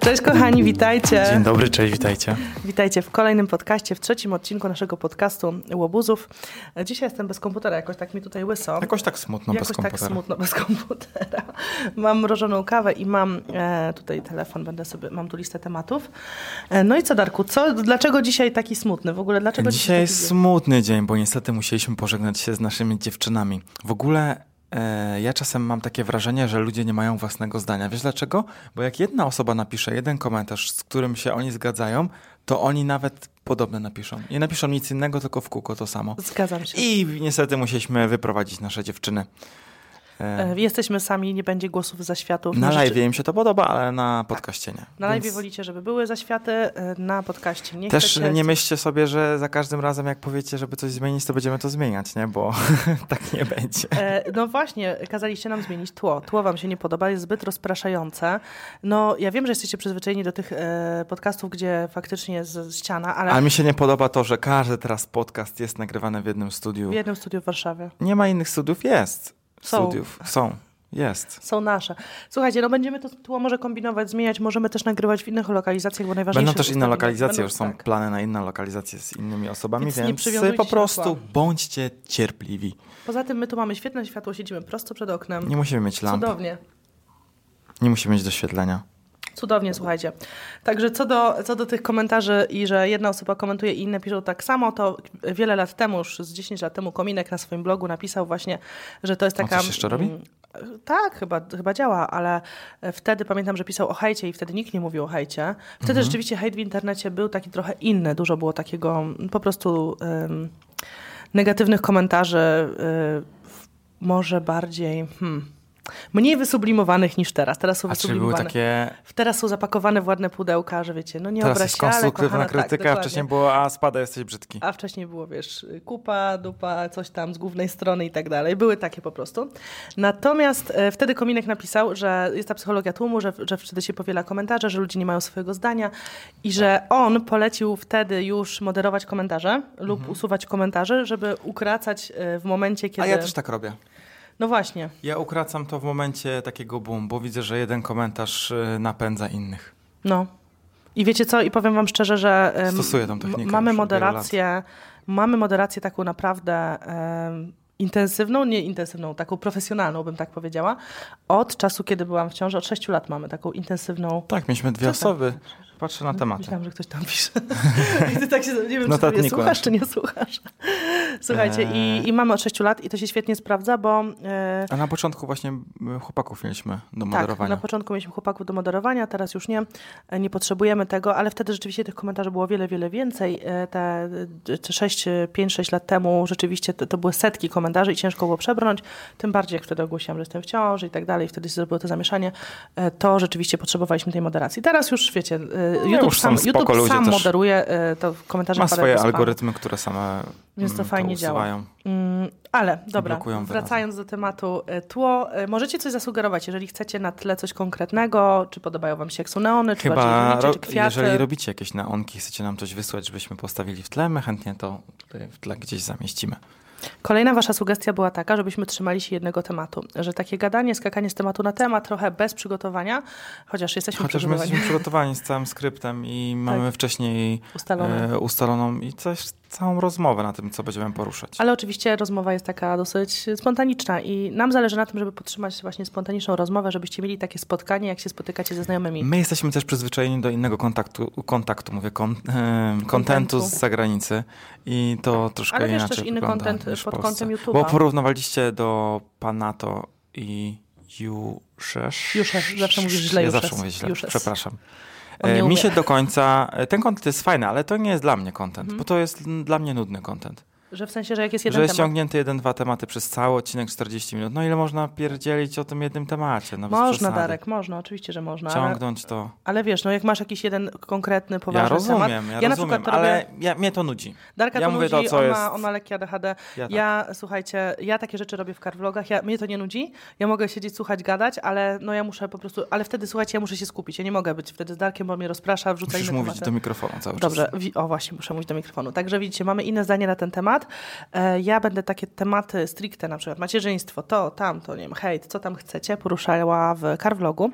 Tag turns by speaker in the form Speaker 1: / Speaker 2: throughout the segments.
Speaker 1: Cześć kochani, witajcie.
Speaker 2: Dzień dobry, cześć, witajcie.
Speaker 1: Witajcie w kolejnym podcaście, w trzecim odcinku naszego podcastu Łobuzów. Dzisiaj jestem bez komputera, jakoś tak mi tutaj łyso.
Speaker 2: Jakoś tak smutno
Speaker 1: Jakoś
Speaker 2: bez
Speaker 1: tak
Speaker 2: komputera.
Speaker 1: smutno bez komputera. Mam mrożoną kawę i mam e, tutaj telefon, będę sobie, mam tu listę tematów. E, no i co Darku, co, dlaczego dzisiaj taki smutny w ogóle? Dlaczego
Speaker 2: Dzisiaj
Speaker 1: taki
Speaker 2: jest
Speaker 1: dzień?
Speaker 2: smutny dzień, bo niestety musieliśmy pożegnać się z naszymi dziewczynami. W ogóle e, ja czasem mam takie wrażenie, że ludzie nie mają własnego zdania. Wiesz dlaczego? Bo jak jedna osoba napisze jeden komentarz, z którym się oni zgadzają, to oni nawet podobne napiszą. Nie napiszą nic innego, tylko w kółko to samo.
Speaker 1: Zgadzam się.
Speaker 2: I niestety musieliśmy wyprowadzić nasze dziewczyny.
Speaker 1: E, jesteśmy sami, nie będzie głosów za światów.
Speaker 2: Na
Speaker 1: Rzeczy-
Speaker 2: live im się to podoba, ale na podcaście nie.
Speaker 1: Na live
Speaker 2: Więc-
Speaker 1: wolicie, żeby były zaświaty, e, na podcaście nie
Speaker 2: Też
Speaker 1: chcecie.
Speaker 2: nie myślcie sobie, że za każdym razem, jak powiecie, żeby coś zmienić, to będziemy to zmieniać, nie? Bo tak nie będzie.
Speaker 1: E, No właśnie, kazaliście nam zmienić tło. Tło wam się nie podoba, jest zbyt rozpraszające. No ja wiem, że jesteście przyzwyczajeni do tych e, podcastów, gdzie faktycznie jest z- ściana, ale
Speaker 2: A mi się nie podoba to, że każdy teraz podcast jest nagrywany w jednym studiu.
Speaker 1: w jednym studiu w Warszawie.
Speaker 2: Nie ma innych studiów? Jest.
Speaker 1: Są.
Speaker 2: Studiów. Są. Jest.
Speaker 1: Są nasze. Słuchajcie, no będziemy to tło może kombinować, zmieniać, możemy też nagrywać w innych lokalizacjach, bo najważniejsze
Speaker 2: Będą też
Speaker 1: jest
Speaker 2: inne
Speaker 1: ustawienie.
Speaker 2: lokalizacje,
Speaker 1: Będą-
Speaker 2: już są
Speaker 1: tak.
Speaker 2: plany na inne lokalizacje z innymi osobami,
Speaker 1: Więc
Speaker 2: więc,
Speaker 1: nie przywiązujcie
Speaker 2: po
Speaker 1: się
Speaker 2: prostu
Speaker 1: do tła.
Speaker 2: bądźcie cierpliwi.
Speaker 1: Poza tym my tu mamy świetne światło, siedzimy prosto przed oknem.
Speaker 2: Nie musimy mieć lamp,
Speaker 1: Cudownie.
Speaker 2: nie musimy mieć doświetlenia.
Speaker 1: Cudownie, słuchajcie. Także co do, co do tych komentarzy i że jedna osoba komentuje i inne piszą tak samo, to wiele lat temu, już z 10 lat temu, Kominek na swoim blogu napisał właśnie, że to jest
Speaker 2: O,
Speaker 1: taka...
Speaker 2: coś jeszcze robi?
Speaker 1: mm, Tak, chyba, chyba działa, ale e, wtedy pamiętam, że pisał o hejcie i wtedy nikt nie mówił o hejcie. Wtedy
Speaker 2: Mhm.
Speaker 1: rzeczywiście hejt w internecie był taki trochę inny, dużo było takiego mm, po prostu em, negatywnych komentarzy, y, w- może bardziej... Hmm, mniej wysublimowanych niż teraz. Teraz są
Speaker 2: A czyli były
Speaker 1: wysublimowane.
Speaker 2: takie...
Speaker 1: Teraz są zapakowane w ładne pudełka, że wiecie, no nie
Speaker 2: Teraz
Speaker 1: obraź
Speaker 2: jest
Speaker 1: się, ale
Speaker 2: konstruktywna
Speaker 1: kochana,
Speaker 2: krytyka,
Speaker 1: tak,
Speaker 2: a wcześniej
Speaker 1: dokładnie.
Speaker 2: było, a spada, jesteś brzydki.
Speaker 1: A wcześniej było, wiesz, kupa, dupa, coś tam z głównej strony i tak dalej. Były takie po prostu. Natomiast e, wtedy Kominek napisał, że jest ta psychologia tłumu, że, że wtedy się powiela komentarze, że ludzie nie mają swojego zdania i że on polecił wtedy już moderować komentarze lub usuwać komentarze, żeby ukracać e, w momencie, kiedy...
Speaker 2: Mhm. A ja też tak robię.
Speaker 1: No właśnie.
Speaker 2: Ja ukracam to w momencie takiego boom, bo widzę, że jeden komentarz y, napędza innych.
Speaker 1: No. I wiecie co, i powiem wam szczerze, że em,
Speaker 2: Stosuję tą technikę
Speaker 1: m- mamy
Speaker 2: już od wielu
Speaker 1: moderację, mamy moderację taką naprawdę em, intensywną, nie intensywną, taką profesjonalną bym tak powiedziała. Od czasu, kiedy byłam w ciąży, od 6 lat mamy taką intensywną.
Speaker 2: Tak, mieliśmy dwie
Speaker 1: Co tam?
Speaker 2: osoby. Patrzę na tematy.
Speaker 1: Myślałam, że ktoś tam pisze. I ty tak się, nie
Speaker 2: No
Speaker 1: wiem, czy ty mnie
Speaker 2: Notatniku
Speaker 1: słuchasz, czy nie słuchasz. Słuchajcie, i, i mamy od 6 lat i to się świetnie sprawdza, bo e,
Speaker 2: A na początku właśnie y, chłopaków mieliśmy do
Speaker 1: Tak,
Speaker 2: moderowania.
Speaker 1: na początku mieliśmy chłopaków do moderowania, teraz już nie, e, nie potrzebujemy tego, ale wtedy rzeczywiście tych komentarzy było wiele, wiele więcej. E, Te 5-6 lat temu rzeczywiście to, to były setki komentarzy i ciężko było przebrnąć, tym bardziej jak wtedy ogłosiłam, że jestem w ciąży i tak dalej, wtedy się zrobiło to zamieszanie, e, to rzeczywiście potrzebowaliśmy tej moderacji. Teraz już, wiecie, e, YouTube
Speaker 2: No już są
Speaker 1: sam,
Speaker 2: spoko
Speaker 1: YouTube
Speaker 2: ludzie
Speaker 1: sam
Speaker 2: też.
Speaker 1: moderuje, e, to komentarze
Speaker 2: Ma
Speaker 1: wpadają
Speaker 2: swoje
Speaker 1: do spamu.
Speaker 2: algorytmy, które same
Speaker 1: Więc to
Speaker 2: mm,
Speaker 1: fajnie działa.
Speaker 2: usuwają.
Speaker 1: Mm, ale dobra,
Speaker 2: blokują
Speaker 1: wracając do tematu e, tło, e, możecie coś zasugerować, jeżeli chcecie na tle coś konkretnego, czy podobają wam się eksoneony, czy bardziej
Speaker 2: Chyba,
Speaker 1: różnicze,
Speaker 2: ro-
Speaker 1: czy kwiaty.
Speaker 2: jeżeli robicie jakieś naonki, chcecie nam coś wysłać, żebyśmy postawili w tle, my chętnie to tutaj w tle gdzieś zamieścimy.
Speaker 1: Kolejna wasza sugestia była taka, żebyśmy trzymali się jednego tematu, że takie gadanie, skakanie z tematu na temat, trochę bez przygotowania, chociaż jesteśmy
Speaker 2: Chociaż my
Speaker 1: przygotowani.
Speaker 2: jesteśmy przygotowani z całym skryptem i mamy
Speaker 1: Tak.
Speaker 2: wcześniej
Speaker 1: Ustalone.
Speaker 2: e, ustaloną i też całą rozmowę na tym, co będziemy poruszać.
Speaker 1: Ale oczywiście rozmowa jest taka dosyć spontaniczna i nam zależy na tym, żeby podtrzymać właśnie spontaniczną rozmowę, żebyście mieli takie spotkanie, jak się spotykacie ze znajomymi.
Speaker 2: My jesteśmy też przyzwyczajeni do innego kontaktu, kontaktu mówię, kon, e,
Speaker 1: Kontentu. Tak.
Speaker 2: kontentu z zagranicy i to troszkę
Speaker 1: Ale wiesz,
Speaker 2: inaczej
Speaker 1: też inny
Speaker 2: wygląda
Speaker 1: content
Speaker 2: niż w
Speaker 1: pod
Speaker 2: Polsce.
Speaker 1: kątem YouTube'a.
Speaker 2: Bo porównowaliście do Panato i Juszesz.
Speaker 1: Juszesz, zawsze mówisz źle
Speaker 2: Ja
Speaker 1: Juszesz.
Speaker 2: zawsze mówię źle,
Speaker 1: Juszesz.
Speaker 2: przepraszam.
Speaker 1: On nie
Speaker 2: E, Mi
Speaker 1: umie.
Speaker 2: e, się do końca... Ten content jest fajny, ale to nie jest dla mnie content, bo to jest n- dla mnie nudny content.
Speaker 1: Że w sensie, że jak Mhm. jest
Speaker 2: że
Speaker 1: jeden
Speaker 2: jest
Speaker 1: temat.
Speaker 2: ciągnięte jeden, dwa tematy przez cały odcinek 40 minut. No ile można pierdzielić o tym jednym temacie? No bez
Speaker 1: Można,
Speaker 2: przesady.
Speaker 1: Darek, można, oczywiście, że można. Ale,
Speaker 2: Ciągnąć to.
Speaker 1: ale wiesz, no jak masz jakiś jeden konkretny, poważny
Speaker 2: ja rozumiem,
Speaker 1: temat.
Speaker 2: ja,
Speaker 1: na
Speaker 2: rozumiem,
Speaker 1: przykład to robię-
Speaker 2: ale ja, mnie to nudzi.
Speaker 1: Darka
Speaker 2: Ja
Speaker 1: to
Speaker 2: mówię
Speaker 1: nudzi,
Speaker 2: to, co
Speaker 1: on, ma,
Speaker 2: jest-
Speaker 1: on ma lekkie ADHD.
Speaker 2: Ja
Speaker 1: Ja,
Speaker 2: tak.
Speaker 1: słuchajcie, ja takie rzeczy robię w karvlogach, ja, mnie to nie nudzi, ja mogę siedzieć, słuchać, gadać, ale no ja muszę po prostu, ale wtedy słuchajcie, ja muszę się skupić, ja nie mogę być wtedy z Darkiem, bo mnie rozprasza, wrzuca
Speaker 2: Musisz
Speaker 1: inne
Speaker 2: mówić
Speaker 1: tematy.
Speaker 2: do mikrofonu cały
Speaker 1: Dobrze,
Speaker 2: czas.
Speaker 1: wi- o właśnie, muszę mówić do mikrofonu. Także widzicie, mamy inne zdanie na ten temat. E, ja będę takie tematy stricte, na przykład macierzyństwo, to, tamto, nie wiem, hejt, co tam chcecie, poruszała w Carvlogu.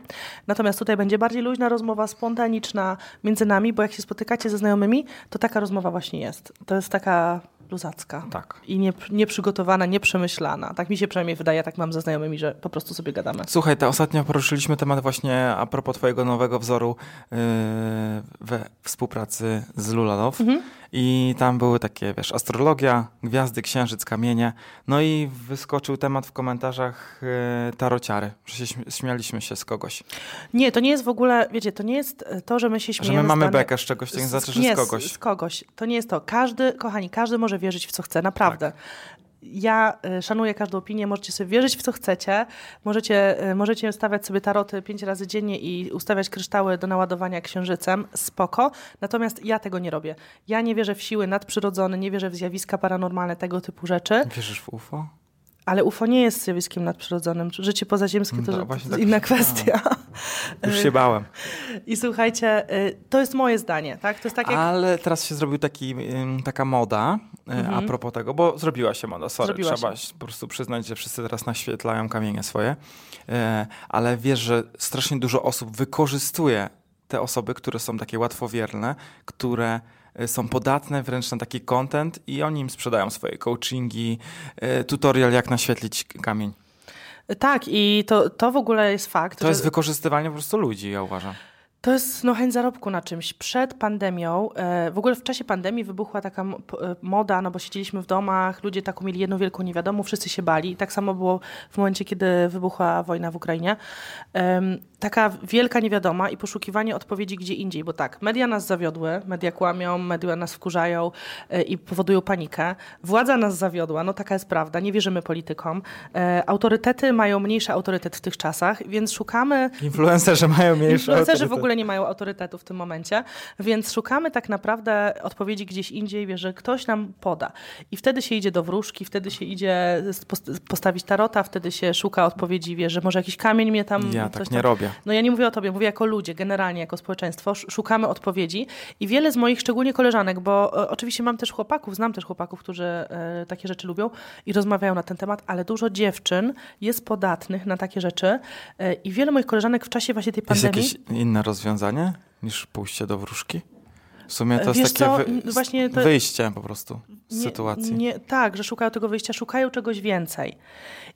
Speaker 1: Natomiast tutaj będzie bardziej luźna rozmowa, spontaniczna między nami, bo jak się spotykacie ze znajomymi, to taka rozmowa właśnie jest. To jest taka luzacka.
Speaker 2: Tak.
Speaker 1: I nie, nieprzygotowana, nieprzemyślana. Tak mi się przynajmniej wydaje, tak mam ze znajomymi, że po prostu sobie gadamy.
Speaker 2: Słuchaj, to ostatnio poruszyliśmy temat właśnie a propos twojego nowego wzoru yy, we współpracy z Lulalow i tam były takie, wiesz, astrologia, gwiazdy, księżyc, kamienie, no i wyskoczył temat w komentarzach yy, tarociary, że się śm- śmialiśmy się z kogoś,
Speaker 1: Nie, to nie jest w ogóle, wiecie, to nie jest e, to, że my się
Speaker 2: że
Speaker 1: śmiejemy.
Speaker 2: my
Speaker 1: z
Speaker 2: mamy
Speaker 1: danej-
Speaker 2: bekę z czegoś, to nie znaczy, że
Speaker 1: nie,
Speaker 2: z kogoś.
Speaker 1: Z kogoś. To nie jest to. Każdy, kochani, każdy może wierzyć w co chce, naprawdę. Ja y, szanuję każdą opinię, możecie sobie wierzyć w co chcecie, możecie, y, możecie stawiać sobie taroty pięć razy dziennie i ustawiać kryształy do naładowania księżycem, spoko. Natomiast ja tego nie robię. Ja nie wierzę w siły nadprzyrodzone, nie wierzę w zjawiska paranormalne, tego typu rzeczy,
Speaker 2: Wierzysz w UFO?
Speaker 1: ale UFO nie jest zjawiskiem nadprzyrodzonym. Życie pozaziemskie to,
Speaker 2: No,
Speaker 1: że- to
Speaker 2: właśnie
Speaker 1: jest
Speaker 2: tak
Speaker 1: inna
Speaker 2: myślałem.
Speaker 1: kwestia. Yy,
Speaker 2: Już się bałem.
Speaker 1: I słuchajcie, y, to jest moje zdanie, tak? To jest tak jak...
Speaker 2: Ale teraz się zrobił taki, ym, taka moda y, a propos tego, bo zrobiła się moda, sorry,
Speaker 1: Mhm. Zrobiła
Speaker 2: trzeba się. po prostu przyznać, że wszyscy teraz naświetlają kamienie swoje, E, ale wiesz, że strasznie dużo osób wykorzystuje te osoby, które są takie łatwowierne, które y, są podatne wręcz na taki content i oni im sprzedają swoje coachingi, y, tutorial jak naświetlić kamień.
Speaker 1: Tak, i to, to w ogóle jest fakt.
Speaker 2: To
Speaker 1: że-
Speaker 2: jest wykorzystywanie po prostu ludzi, ja uważam.
Speaker 1: To jest no, chęć zarobku na czymś. Przed pandemią, e, w ogóle w czasie pandemii wybuchła taka m- p- e, moda, no bo siedzieliśmy w domach, ludzie taką mieli jedną wielką niewiadomą, wszyscy się bali. Tak samo było w momencie, kiedy wybuchła wojna w Ukrainie. Em, taka wielka niewiadoma i poszukiwanie odpowiedzi gdzie indziej, bo tak, media nas zawiodły, media kłamią, media nas wkurzają e, i powodują panikę. Władza nas zawiodła, no taka jest prawda, nie wierzymy politykom. E, autorytety mają mniejszy autorytet w tych czasach, więc szukamy
Speaker 2: Influencerzy mają mniejsze
Speaker 1: Influencerzy w
Speaker 2: autorytet.
Speaker 1: ogóle nie mają autorytetu w tym momencie, więc szukamy tak naprawdę odpowiedzi gdzieś indziej, wiesz, że ktoś nam poda. I wtedy się idzie do wróżki, wtedy się idzie z- post- postawić tarota, wtedy się szuka odpowiedzi, wiesz, że może jakiś kamień mnie tam...
Speaker 2: Ja
Speaker 1: mm, coś
Speaker 2: tak
Speaker 1: tam-
Speaker 2: nie robię.
Speaker 1: no ja nie mówię o tobie, mówię jako ludzie, generalnie jako społeczeństwo, sz- szukamy odpowiedzi i wiele z moich, szczególnie koleżanek, bo e, oczywiście mam też chłopaków, znam też chłopaków, którzy e, takie rzeczy lubią i rozmawiają na ten temat, ale dużo dziewczyn jest podatnych na takie rzeczy e, i wiele moich koleżanek w czasie właśnie tej
Speaker 2: Jest
Speaker 1: pandemii...
Speaker 2: jakieś inne rozwiązanie niż pójście do wróżki? W sumie to
Speaker 1: Wiesz
Speaker 2: jest takie
Speaker 1: co,
Speaker 2: wy...
Speaker 1: właśnie to-
Speaker 2: wyjście po prostu z sytuacji.
Speaker 1: Nie, tak, że szukają tego wyjścia, szukają czegoś więcej.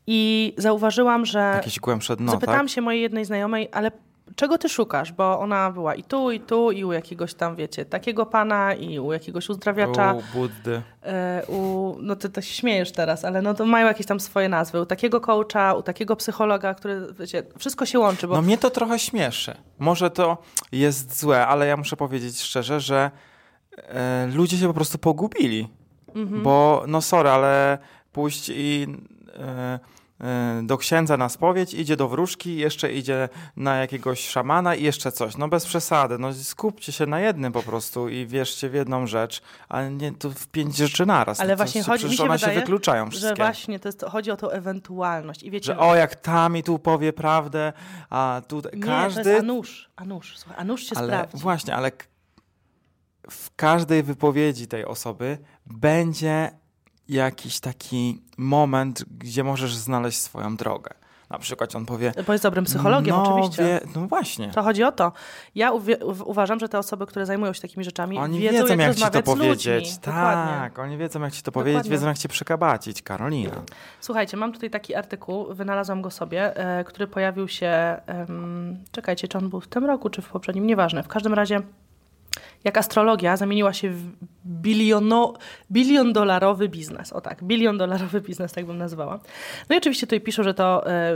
Speaker 1: I zauważyłam, że.
Speaker 2: Jakieś głębsze dno,
Speaker 1: Zapytałam
Speaker 2: tak?
Speaker 1: się mojej jednej znajomej, ale czego ty szukasz? Bo ona była i tu, i tu, i u jakiegoś tam, wiecie, takiego pana, i u jakiegoś uzdrawiacza.
Speaker 2: U Buddy.
Speaker 1: e, U, no ty to się śmiejesz teraz, ale no to mają jakieś tam swoje nazwy. U takiego coacha, u takiego psychologa, który, wiecie, wszystko się łączy, bo
Speaker 2: No mnie to trochę śmieszy. Może to jest złe, ale ja muszę powiedzieć szczerze, że e, ludzie się po prostu pogubili.
Speaker 1: Mhm.
Speaker 2: Bo, no sorry, ale pójść i e, e, do księdza na spowiedź, idzie do wróżki, jeszcze idzie na jakiegoś szamana i jeszcze coś. No bez przesady, no skupcie się na jednym po prostu i wierzcie w jedną rzecz, a nie tu w pięć rzeczy naraz.
Speaker 1: Ale
Speaker 2: No to
Speaker 1: właśnie
Speaker 2: się-
Speaker 1: chodzi-
Speaker 2: przecież
Speaker 1: mi się
Speaker 2: one się
Speaker 1: wydaje,
Speaker 2: wykluczają
Speaker 1: że
Speaker 2: wszystkie.
Speaker 1: właśnie to jest, chodzi o tą ewentualność. I wiecie,
Speaker 2: Że o, jak ta mi tu powie prawdę, a tutaj
Speaker 1: nie,
Speaker 2: każdy...
Speaker 1: to jest Anusz, Anusz, słuchaj, Anusz się
Speaker 2: ale
Speaker 1: sprawdzi.
Speaker 2: Właśnie, ale k- w każdej wypowiedzi tej osoby będzie jakiś taki moment, gdzie możesz znaleźć swoją drogę. Na przykład on powie.
Speaker 1: Bo jest dobrym psychologiem,
Speaker 2: no,
Speaker 1: oczywiście.
Speaker 2: Wie, no właśnie.
Speaker 1: To chodzi o to. Ja uwie- u- uważam, że te osoby, które zajmują się takimi rzeczami,
Speaker 2: Oni
Speaker 1: wiedzą,
Speaker 2: wiedzą, jak ci
Speaker 1: rozmawiać
Speaker 2: to
Speaker 1: z
Speaker 2: powiedzieć.
Speaker 1: ludźmi. Dokładnie.
Speaker 2: Tak, oni wiedzą, jak ci to powiedzieć,
Speaker 1: Dokładnie.
Speaker 2: wiedzą, jak cię przekabacić. Karolina.
Speaker 1: Słuchajcie, mam tutaj taki artykuł, wynalazłam go sobie, e, który pojawił się, em, czekajcie, czy on był w tym roku, czy w poprzednim, nieważne. W każdym razie jak astrologia zamieniła się w biliono, bilion dolarowy biznes. O tak, bilion dolarowy biznes, tak bym nazwała. No i oczywiście tutaj piszą, że to e,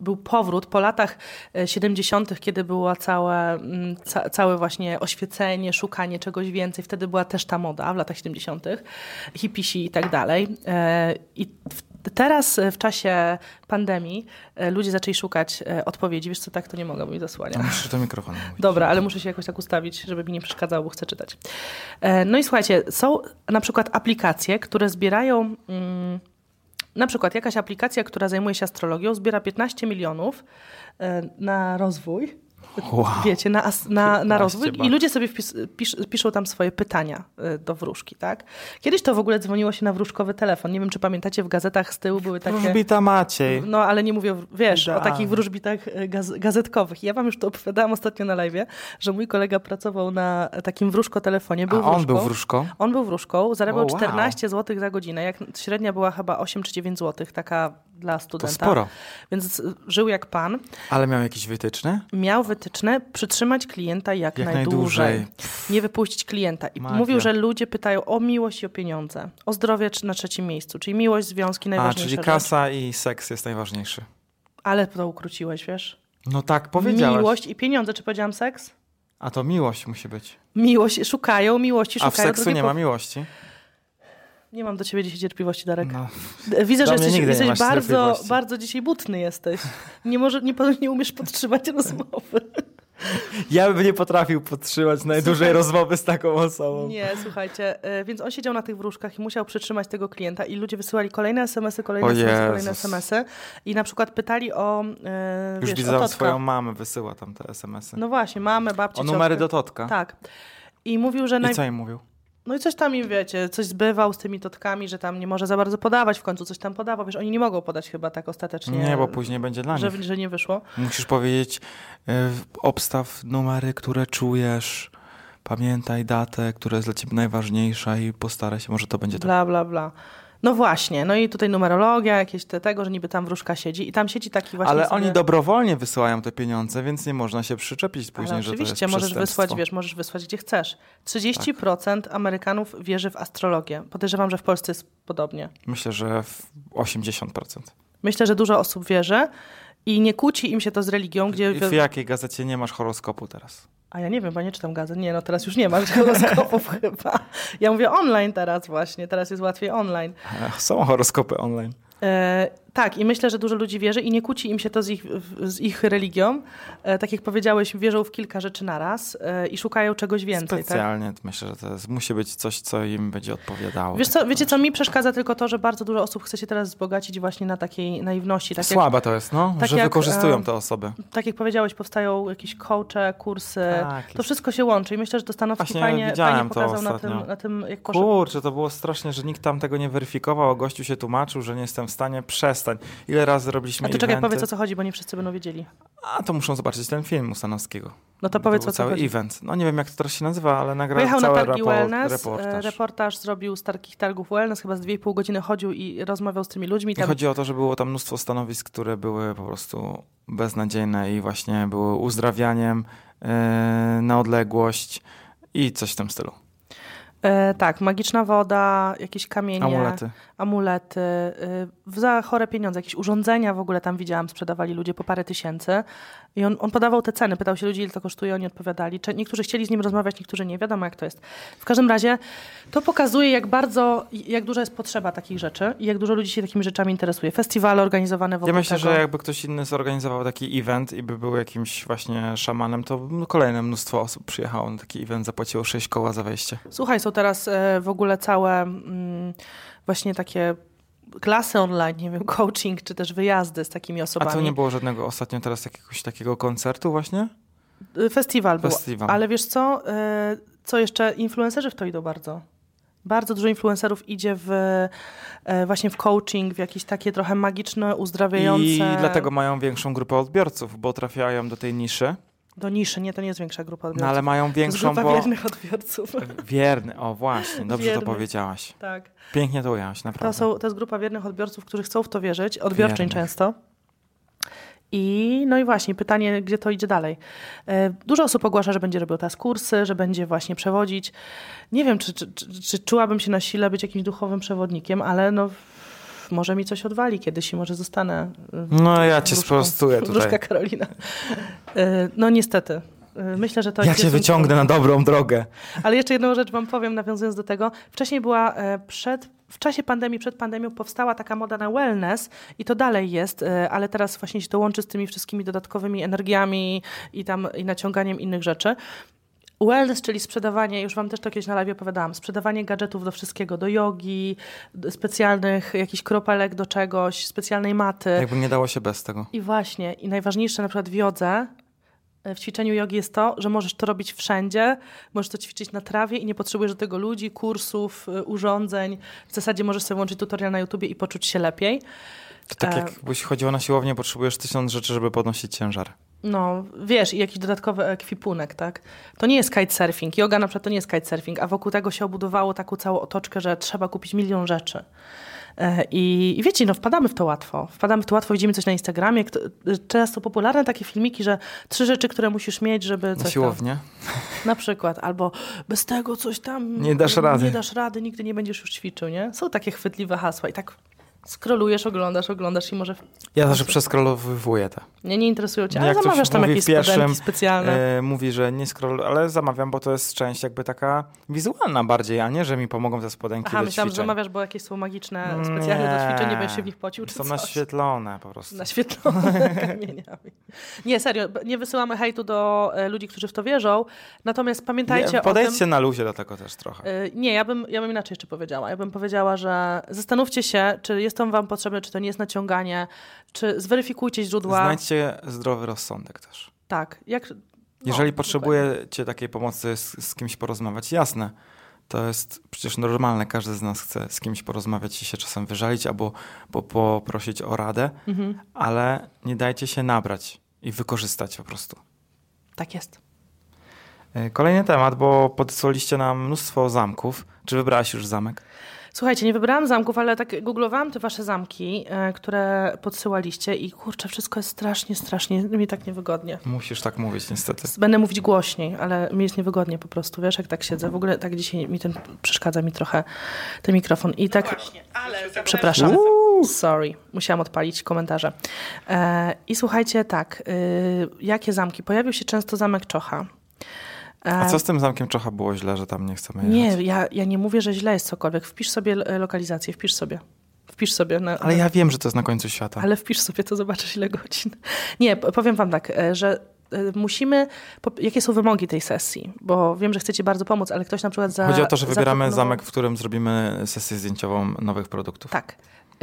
Speaker 1: był powrót po latach e, 70., kiedy było całe, mm, ca, całe właśnie oświecenie, szukanie czegoś więcej. Wtedy była też ta moda w latach 70., hipisi i tak dalej. E, I w, teraz e, w czasie pandemii e, ludzie zaczęli szukać e, odpowiedzi. Wiesz co, tak to nie mogę, bo mi zasłania.
Speaker 2: No, Musisz do mikrofonu mówić.
Speaker 1: Dobra, ale muszę się jakoś tak ustawić, żeby mi nie przeszkadzało, bo chcę czytać. E, No i słuchajcie, są na przykład aplikacje, które zbierają. Mm, na przykład jakaś aplikacja, która zajmuje się astrologią, zbiera 15 milionów e, na rozwój.
Speaker 2: Wow.
Speaker 1: Wiecie, na, as- na, na
Speaker 2: 15
Speaker 1: rozwój i
Speaker 2: bach.
Speaker 1: ludzie sobie wpis, pisz, piszą tam swoje pytania y, do wróżki, tak? Kiedyś to w ogóle dzwoniło się na wróżkowy telefon. Nie wiem, czy pamiętacie, w gazetach z tyłu były takie...
Speaker 2: Wróżbita Maciej.
Speaker 1: No, ale nie mówię, wiesz, o
Speaker 2: Idealnie.
Speaker 1: takich wróżbitach e, gaz gazetkowych. Ja wam już to opowiadałam ostatnio na live, że mój kolega pracował na takim wróżko-telefonie. Był
Speaker 2: A on był
Speaker 1: wróżką.
Speaker 2: wróżką?
Speaker 1: On był wróżką, zarabiał
Speaker 2: O, wow.
Speaker 1: 14 zł za godzinę, jak średnia była chyba 8 czy 9 zł, taka dla
Speaker 2: To
Speaker 1: studenta.
Speaker 2: sporo.
Speaker 1: Więc e, żył jak pan.
Speaker 2: Ale miał jakieś wytyczne?
Speaker 1: Miał wytyczne przytrzymać klienta jak,
Speaker 2: Jak
Speaker 1: najdłużej.
Speaker 2: najdłużej.
Speaker 1: nie wypuścić klienta. I
Speaker 2: Magia.
Speaker 1: mówił, że ludzie pytają o miłość i o pieniądze, o zdrowie czy- na trzecim miejscu, czyli miłość, związki,
Speaker 2: A,
Speaker 1: najważniejsze
Speaker 2: czyli
Speaker 1: rzeczy.
Speaker 2: kasa i seks jest najważniejszy.
Speaker 1: Ale to ukróciłeś, wiesz?
Speaker 2: No tak, powiedziałaś.
Speaker 1: Miłość i pieniądze. Czy powiedziałam seks?
Speaker 2: A to miłość musi być.
Speaker 1: Miłość, szukają miłości,
Speaker 2: A w
Speaker 1: szukają.
Speaker 2: seksu
Speaker 1: drugiej
Speaker 2: nie
Speaker 1: po-
Speaker 2: ma miłości?
Speaker 1: Nie mam do ciebie dzisiaj cierpliwości, Darek. E,
Speaker 2: No,
Speaker 1: Widzę,
Speaker 2: Do
Speaker 1: że
Speaker 2: mnie
Speaker 1: jesteś,
Speaker 2: nigdy nie
Speaker 1: jesteś
Speaker 2: masz
Speaker 1: bardzo,
Speaker 2: cierpliwości.
Speaker 1: bardzo dzisiaj butny jesteś. Nie, może, nie, nie umiesz podtrzymać rozmowy.
Speaker 2: Ja bym nie potrafił podtrzymać najdłużej rozmowy z taką osobą.
Speaker 1: Nie, słuchajcie, e, więc on siedział na tych wróżkach i musiał przytrzymać tego klienta i ludzie wysyłali kolejne SMS-y, y, kolejne
Speaker 2: O
Speaker 1: SMS-y, kolejne
Speaker 2: Jezus.
Speaker 1: SMS-y y i na przykład pytali o, e,
Speaker 2: Już
Speaker 1: wiesz, o
Speaker 2: widzę
Speaker 1: Totka.
Speaker 2: swoją mamę, wysyła tam te SMS-y.
Speaker 1: No właśnie, mamę, babcię,
Speaker 2: o numery do
Speaker 1: ciotkę.
Speaker 2: Totka.
Speaker 1: Tak. I mówił, że naj...
Speaker 2: I co im mówił?
Speaker 1: No i coś tam im, wiecie, coś zbywał z tymi totkami, że tam nie może za bardzo podawać, w końcu coś tam podawał, wiesz, oni nie mogą podać chyba tak ostatecznie.
Speaker 2: Nie, bo później będzie dla
Speaker 1: że,
Speaker 2: nich.
Speaker 1: że nie wyszło.
Speaker 2: Musisz powiedzieć, y, obstaw numery, które czujesz, pamiętaj datę, która jest dla ciebie najważniejsza i postaraj się, może to będzie tak. to.
Speaker 1: Bla, bla, bla. No właśnie, no i tutaj numerologia, jakieś te, tego, że niby tam wróżka siedzi i tam siedzi taki właśnie
Speaker 2: Ale
Speaker 1: sobie...
Speaker 2: oni dobrowolnie wysyłają te pieniądze, więc nie można się przyczepić później,
Speaker 1: Ale
Speaker 2: że to
Speaker 1: oczywiście,
Speaker 2: jest
Speaker 1: możesz
Speaker 2: przestępstwo. Tak.
Speaker 1: wysłać, wiesz, możesz wysłać gdzie chcesz. 30% Amerykanów wierzy w astrologię. Podejrzewam, że w Polsce jest podobnie.
Speaker 2: Myślę, że w 80%.
Speaker 1: Myślę, że dużo osób wierzy i nie kłóci im się to z religią, gdzie...
Speaker 2: I w jakiej gazecie nie masz horoskopu teraz?
Speaker 1: A ja nie wiem, bo ja nie czytam gazet. Nie, no teraz już nie ma horoskopów chyba. Ja mówię online teraz właśnie, teraz jest łatwiej online.
Speaker 2: Ech, Są horoskopy online.
Speaker 1: E, tak, i myślę, że dużo ludzi wierzy i nie kłóci im się to z ich, w- z ich religią. E, tak jak powiedziałeś, wierzą w kilka rzeczy naraz e, i szukają czegoś więcej. Tak?
Speaker 2: Specjalnie myślę, że to jest, musi być coś, co im będzie odpowiadało.
Speaker 1: Wiesz co, wiecie co, mi przeszkadza tylko to, że bardzo dużo osób chce się teraz wzbogacić właśnie na takiej naiwności. Tak jak,
Speaker 2: Słabe to jest, no,
Speaker 1: tak
Speaker 2: że
Speaker 1: jak,
Speaker 2: wykorzystują
Speaker 1: em,
Speaker 2: te osoby.
Speaker 1: tak jak powiedziałeś, powstają jakieś coache, kursy.
Speaker 2: Tak,
Speaker 1: e, To wszystko się łączy i myślę, że to Stanowski
Speaker 2: Właśnie
Speaker 1: fajnie,
Speaker 2: widziałem
Speaker 1: fajnie
Speaker 2: to
Speaker 1: pokazał na
Speaker 2: ostatnio.
Speaker 1: tym, na tym, jak poszedł.
Speaker 2: Kurczę, to było strasznie, że nikt tam tego nie weryfikował, a gościu się tłumaczył, że nie jestem w stanie, przestań. Ile razy robiliśmy
Speaker 1: A to czekaj,
Speaker 2: eventy?
Speaker 1: powiedz o co chodzi, bo nie wszyscy będą wiedzieli.
Speaker 2: A to muszą zobaczyć ten film u Stanowskiego.
Speaker 1: No to powiedz
Speaker 2: był
Speaker 1: o co
Speaker 2: cały
Speaker 1: chodzi.
Speaker 2: event. No nie wiem, jak to teraz się nazywa, ale nagrał
Speaker 1: Pojechał na
Speaker 2: cały
Speaker 1: targi
Speaker 2: rapo-
Speaker 1: wellness, e, reportaż.
Speaker 2: reportaż.
Speaker 1: reportaż zrobił z takich targów wellness, chyba z 2,5 godziny chodził i rozmawiał z tymi ludźmi.
Speaker 2: I
Speaker 1: Tam,
Speaker 2: chodzi o to, że było tam mnóstwo stanowisk, które były po prostu beznadziejne i właśnie były uzdrawianiem yy, na odległość i coś w tym stylu.
Speaker 1: e, tak, magiczna woda, jakieś kamienie,
Speaker 2: Amulety.
Speaker 1: amulety, y, za chore pieniądze, jakieś urządzenia w ogóle tam widziałam, sprzedawali ludzie po parę tysięcy. I on, on podawał te ceny, pytał się ludzi, ile to kosztuje, oni odpowiadali. Cze- Niektórzy chcieli z nim rozmawiać, niektórzy nie, wiadomo jak to jest. W każdym razie to pokazuje, jak bardzo, jak duża jest potrzeba takich rzeczy i jak dużo ludzi się takimi rzeczami interesuje. Festiwale organizowane wokół
Speaker 2: Ja myślę,
Speaker 1: tego.
Speaker 2: że jakby ktoś inny zorganizował taki event i by był jakimś właśnie szamanem, to no, kolejne mnóstwo osób przyjechało na taki event, zapłaciło 6 koła za wejście.
Speaker 1: Słuchaj, są teraz e, w ogóle całe mm, właśnie takie klasy online, nie wiem, coaching, czy też wyjazdy z takimi
Speaker 2: A
Speaker 1: osobami.
Speaker 2: to nie było żadnego ostatnio teraz jakiegoś takiego koncertu właśnie?
Speaker 1: Y, Festiwal był.
Speaker 2: Festiwal.
Speaker 1: Ale wiesz co, y, co jeszcze, influencerzy w to idą bardzo. Bardzo dużo influencerów idzie w, e, właśnie w coaching, w jakieś takie trochę magiczne, uzdrawiające.
Speaker 2: I dlatego mają większą grupę odbiorców, bo trafiają do tej niszy,
Speaker 1: Do niszy, nie, to nie jest większa grupa
Speaker 2: no
Speaker 1: odbiorców.
Speaker 2: ale mają
Speaker 1: to jest
Speaker 2: większą,
Speaker 1: grupa
Speaker 2: bo...
Speaker 1: wiernych odbiorców.
Speaker 2: Wierny, o właśnie, dobrze
Speaker 1: Wierny.
Speaker 2: to powiedziałaś.
Speaker 1: tak.
Speaker 2: Pięknie to ująłaś,
Speaker 1: To,
Speaker 2: naprawdę.
Speaker 1: są, to jest grupa wiernych odbiorców, którzy chcą w to wierzyć, odbiorczyń
Speaker 2: Wiernych.
Speaker 1: często. I no i właśnie, pytanie, gdzie to idzie dalej. E, Dużo osób ogłasza, że będzie robił teraz kursy, że będzie właśnie przewodzić. Nie wiem, czy, czy, czy, czy czułabym się na sile być jakimś duchowym przewodnikiem, ale no może mi coś odwali kiedyś i może zostanę. e,
Speaker 2: No ja cię
Speaker 1: wróżką.
Speaker 2: sprostuję tutaj.
Speaker 1: Wróżka Karolina. E, No niestety. E, Myślę, że to
Speaker 2: Ja
Speaker 1: jest-
Speaker 2: cię wyciągnę na dobrą drogę.
Speaker 1: Ale jeszcze jedną rzecz wam powiem, nawiązując do tego. Wcześniej była e, przed. W czasie pandemii, przed pandemią powstała taka moda na wellness i to dalej jest, e, ale teraz właśnie się to łączy z tymi wszystkimi dodatkowymi energiami i tam i naciąganiem innych rzeczy. Wellness, czyli sprzedawanie, już wam też to kiedyś na live opowiadałam, sprzedawanie gadżetów do wszystkiego, do jogi, do specjalnych jakichś kropelek do czegoś, specjalnej maty.
Speaker 2: Jakby nie dało się bez tego.
Speaker 1: I właśnie, i najważniejsze na przykład w jodze, e, w ćwiczeniu jogi jest to, że możesz to robić wszędzie, możesz to ćwiczyć na trawie i nie potrzebujesz do tego ludzi, kursów, e, urządzeń. W zasadzie możesz sobie włączyć tutorial na YouTubie i poczuć się lepiej.
Speaker 2: To tak
Speaker 1: E.
Speaker 2: jakbyś chodziła na siłownię, potrzebujesz tysiąc rzeczy, żeby podnosić ciężar.
Speaker 1: No, wiesz, i jakiś dodatkowy ekwipunek, tak? To nie jest kitesurfing. Yoga na przykład to nie jest kitesurfing, a wokół tego się obudowało taką całą otoczkę, że trzeba kupić milion rzeczy. E, I, I wiecie, no wpadamy w to łatwo. Wpadamy w to łatwo, widzimy coś na Instagramie. Kto, często popularne takie filmiki, że trzy rzeczy, które musisz mieć, żeby
Speaker 2: Na
Speaker 1: coś
Speaker 2: siłownię?
Speaker 1: tam... Na przykład. Albo bez tego coś tam...
Speaker 2: Nie dasz rady.
Speaker 1: Nie dasz rady, nigdy nie będziesz już ćwiczył, nie? Są takie chwytliwe hasła i tak skrolujesz, oglądasz, oglądasz i może...
Speaker 2: Ja zawsze przeskrolowuję te.
Speaker 1: Nie, nie interesują cię, ale
Speaker 2: Jak to się
Speaker 1: zamawiasz tam
Speaker 2: mówi w
Speaker 1: jakieś
Speaker 2: pierwszym,
Speaker 1: spodenki specjalne.
Speaker 2: E, mówi, że nie scroll, ale zamawiam, bo to jest część jakby taka wizualna bardziej, a nie, że mi pomogą te spodenki
Speaker 1: Aha,
Speaker 2: do
Speaker 1: myślałam, że
Speaker 2: ćwiczeń.
Speaker 1: zamawiasz, bo jakieś są magiczne, specjalne do ćwiczeń, nie będziesz się w nich pocił, czy
Speaker 2: Są
Speaker 1: coś?
Speaker 2: naświetlone po prostu.
Speaker 1: Naświetlone kamieniami. Nie, serio, b- nie wysyłamy hejtu do e, ludzi, którzy w to wierzą, natomiast pamiętajcie
Speaker 2: Nie,
Speaker 1: o tym...
Speaker 2: podejdźcie na luzie do tego też trochę.
Speaker 1: E, Nie, ja bym, ja bym inaczej jeszcze powiedziała. Ja bym powiedziała, że zastanówcie się, czy jest to wam potrzebne, czy to nie jest naciąganie, czy zweryfikujcie źródła.
Speaker 2: Znajdźcie zdrowy rozsądek też.
Speaker 1: Tak, jak... no,
Speaker 2: Jeżeli
Speaker 1: dokładnie.
Speaker 2: potrzebujecie takiej pomocy z, z kimś porozmawiać, jasne. To jest przecież normalne, każdy z nas chce z kimś porozmawiać i się czasem wyżalić albo po, poprosić o radę,
Speaker 1: mhm.
Speaker 2: ale nie dajcie się nabrać i wykorzystać po prostu.
Speaker 1: Tak jest.
Speaker 2: E, Kolejny temat, bo podesłaliście nam mnóstwo zamków. Czy wybrałaś już zamek?
Speaker 1: Słuchajcie, nie wybrałam zamków, ale tak googlowałam te wasze zamki, e, które podsyłaliście i kurczę, wszystko jest strasznie, strasznie mi tak niewygodnie.
Speaker 2: Musisz tak mówić niestety.
Speaker 1: Będę mówić głośniej, ale mi jest niewygodnie po prostu, wiesz, jak tak siedzę. W ogóle tak dzisiaj mi ten przeszkadza mi trochę ten mikrofon i tak Przepraszam. Sorry, musiałam odpalić komentarze. E, I słuchajcie, tak, y, jakie zamki? Pojawił się często zamek Czocha. E,
Speaker 2: A co z tym zamkiem Czocha było źle, że tam nie chcemy jechać?
Speaker 1: Nie, ja, ja nie mówię, że źle jest cokolwiek. Wpisz sobie e, lokalizację, wpisz sobie. Wpisz sobie. Na,
Speaker 2: Ale ja wiem, że to jest na końcu świata.
Speaker 1: ale wpisz sobie, to zobaczysz ile godzin. Nie, p- powiem wam tak, e, że e, musimy, po- jakie są wymogi tej sesji, bo wiem, że chcecie bardzo pomóc, ale ktoś na przykład za...
Speaker 2: Chodzi o to, że wybieramy
Speaker 1: zaproponował-
Speaker 2: zamek, w którym zrobimy sesję zdjęciową nowych produktów.
Speaker 1: Tak.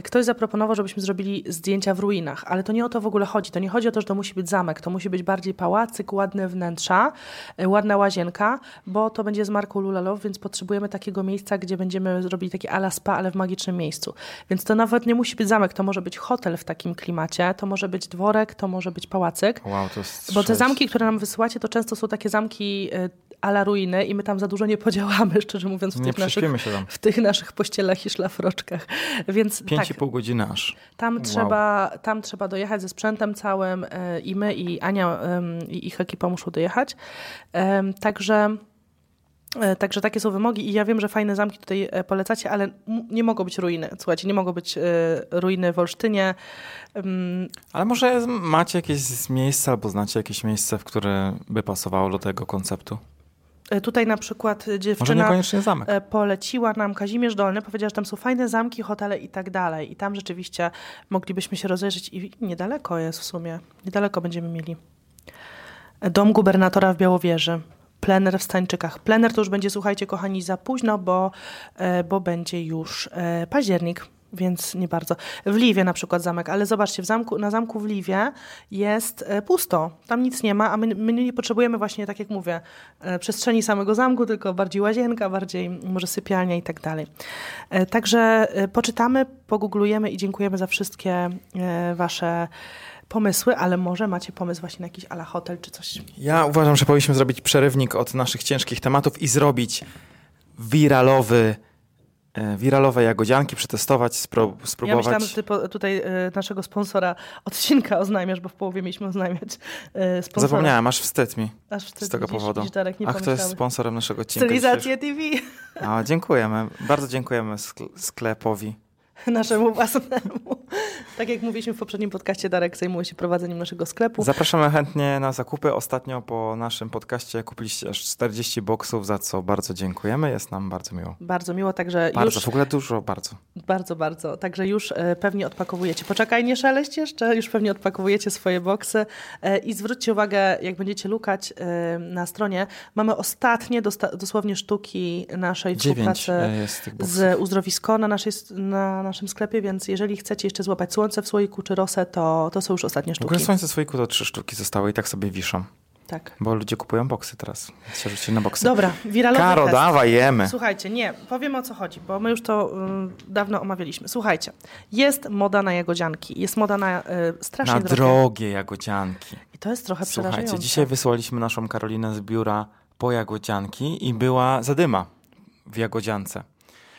Speaker 1: Ktoś zaproponował, żebyśmy zrobili zdjęcia w ruinach, ale to nie o to w ogóle chodzi. To nie chodzi o to, że to musi być zamek. To musi być bardziej pałacyk, ładne wnętrza, e, ładna łazienka, bo to będzie z marką Lulalow, więc potrzebujemy takiego miejsca, gdzie będziemy zrobili takie ala spa, ale w magicznym miejscu. Więc to nawet nie musi być zamek. To może być hotel w takim klimacie, to może być dworek, to może być pałacyk.
Speaker 2: Wow, to jest
Speaker 1: Bo te
Speaker 2: szaleć.
Speaker 1: zamki, które nam wysyłacie, to często są takie zamki y, ala ruiny i my tam za dużo nie podziałamy, szczerze mówiąc, w
Speaker 2: Nie
Speaker 1: tych, naszych, Tak.
Speaker 2: prześpimy się tam.
Speaker 1: w tych naszych pościelach i szlafroczkach. Więc
Speaker 2: Pięć
Speaker 1: tak,
Speaker 2: i pół godziny aż.
Speaker 1: tam,
Speaker 2: Wow.
Speaker 1: trzeba, tam trzeba dojechać ze sprzętem całym y, i my, i Ania, y, i ich ekipa muszą dojechać. Em, Także... E, Także takie są wymogi i ja wiem, że fajne zamki tutaj e, polecacie, ale m- nie mogą być ruiny. Słuchajcie, nie mogą być e, ruiny w Olsztynie. Em,
Speaker 2: Ale może z- macie jakieś z- miejsce albo znacie jakieś miejsce, w które by pasowało do tego konceptu?
Speaker 1: e, Tutaj na przykład e,
Speaker 2: Może
Speaker 1: dziewczyna...
Speaker 2: niekoniecznie zamek.
Speaker 1: E, poleciła nam Kazimierz Dolny, powiedziała, że tam są fajne zamki, hotele i tak dalej. I tam rzeczywiście moglibyśmy się rozejrzeć i niedaleko jest w sumie. Niedaleko będziemy mieli. E, Dom gubernatora w Białowieży. Plener w Stańczykach. Plener to już będzie, słuchajcie, kochani, za późno, bo, e, bo będzie już e, październik, więc nie bardzo. W Liwie na przykład zamek, ale zobaczcie, w zamku, na zamku w Liwie jest e, pusto. Tam nic nie ma, a my, my nie potrzebujemy właśnie, tak jak mówię, e, przestrzeni samego zamku, tylko bardziej łazienka, bardziej może sypialnia i tak dalej. E, Także e, poczytamy, pogooglujemy i dziękujemy za wszystkie e, wasze pomysły, ale może macie pomysł właśnie na jakiś ala hotel czy coś.
Speaker 2: Ja uważam, że powinniśmy zrobić przerywnik od naszych ciężkich tematów i zrobić wiralowy e, wiralowe jagodzianki przetestować, spro,
Speaker 1: Ja
Speaker 2: spróbować.
Speaker 1: myślałam, że ty po, tutaj e, naszego sponsora odcinka oznajmiasz, bo w połowie mieliśmy oznajmiać e, sponsora.
Speaker 2: Zapomniałem, aż wstyd mi
Speaker 1: Aż wtedy
Speaker 2: z tego
Speaker 1: widzisz,
Speaker 2: powodu.
Speaker 1: Widzisz, Darek, nie
Speaker 2: A kto jest
Speaker 1: pomyślałeś.
Speaker 2: sponsorem naszego odcinka?
Speaker 1: Stylizację TV
Speaker 2: dzisiejszego? A, dziękujemy. Bardzo dziękujemy skl- sklepowi.
Speaker 1: naszemu własnemu. Tak jak mówiliśmy w poprzednim podcaście, Darek zajmuje się prowadzeniem naszego sklepu.
Speaker 2: Zapraszamy chętnie na zakupy. Ostatnio po naszym podcaście kupiliście aż 40 boksów, za co bardzo dziękujemy. Jest nam bardzo miło.
Speaker 1: Bardzo miło, także
Speaker 2: Bardzo,
Speaker 1: już
Speaker 2: w ogóle dużo, bardzo.
Speaker 1: Bardzo, bardzo. Także już e, pewnie odpakowujecie. Poczekaj, nie szeleść jeszcze. Już pewnie odpakowujecie swoje boksy. E, I zwróćcie uwagę, jak będziecie lukać e, na stronie, mamy ostatnie dosta- dosłownie sztuki naszej
Speaker 2: Dziewięć
Speaker 1: współpracy
Speaker 2: e, jest tych boksów.
Speaker 1: z uzdrowisko na, naszej, na naszym sklepie, więc jeżeli chcecie jeszcze złapać słońce w słoiku czy rosę, to, to są już ostatnie
Speaker 2: W
Speaker 1: sztuki.
Speaker 2: ogóle słońce słoiku to trzy sztuki zostały i tak sobie wiszą,
Speaker 1: Tak.
Speaker 2: bo ludzie kupują boksy teraz. Więc się rzucili na boksy.
Speaker 1: Dobra, wiralowy
Speaker 2: Karo,
Speaker 1: test.
Speaker 2: dawaj, jemy.
Speaker 1: Słuchajcie, nie, powiemy o co chodzi, bo my już to ym, dawno omawialiśmy. Słuchajcie, jest moda na jagodzianki, jest moda na y, strasznie
Speaker 2: Na
Speaker 1: drogie.
Speaker 2: drogie jagodzianki.
Speaker 1: I to jest trochę
Speaker 2: Słuchajcie,
Speaker 1: przerażające.
Speaker 2: dzisiaj wysłaliśmy naszą Karolinę z biura po jagodzianki i była zadyma w jagodziance.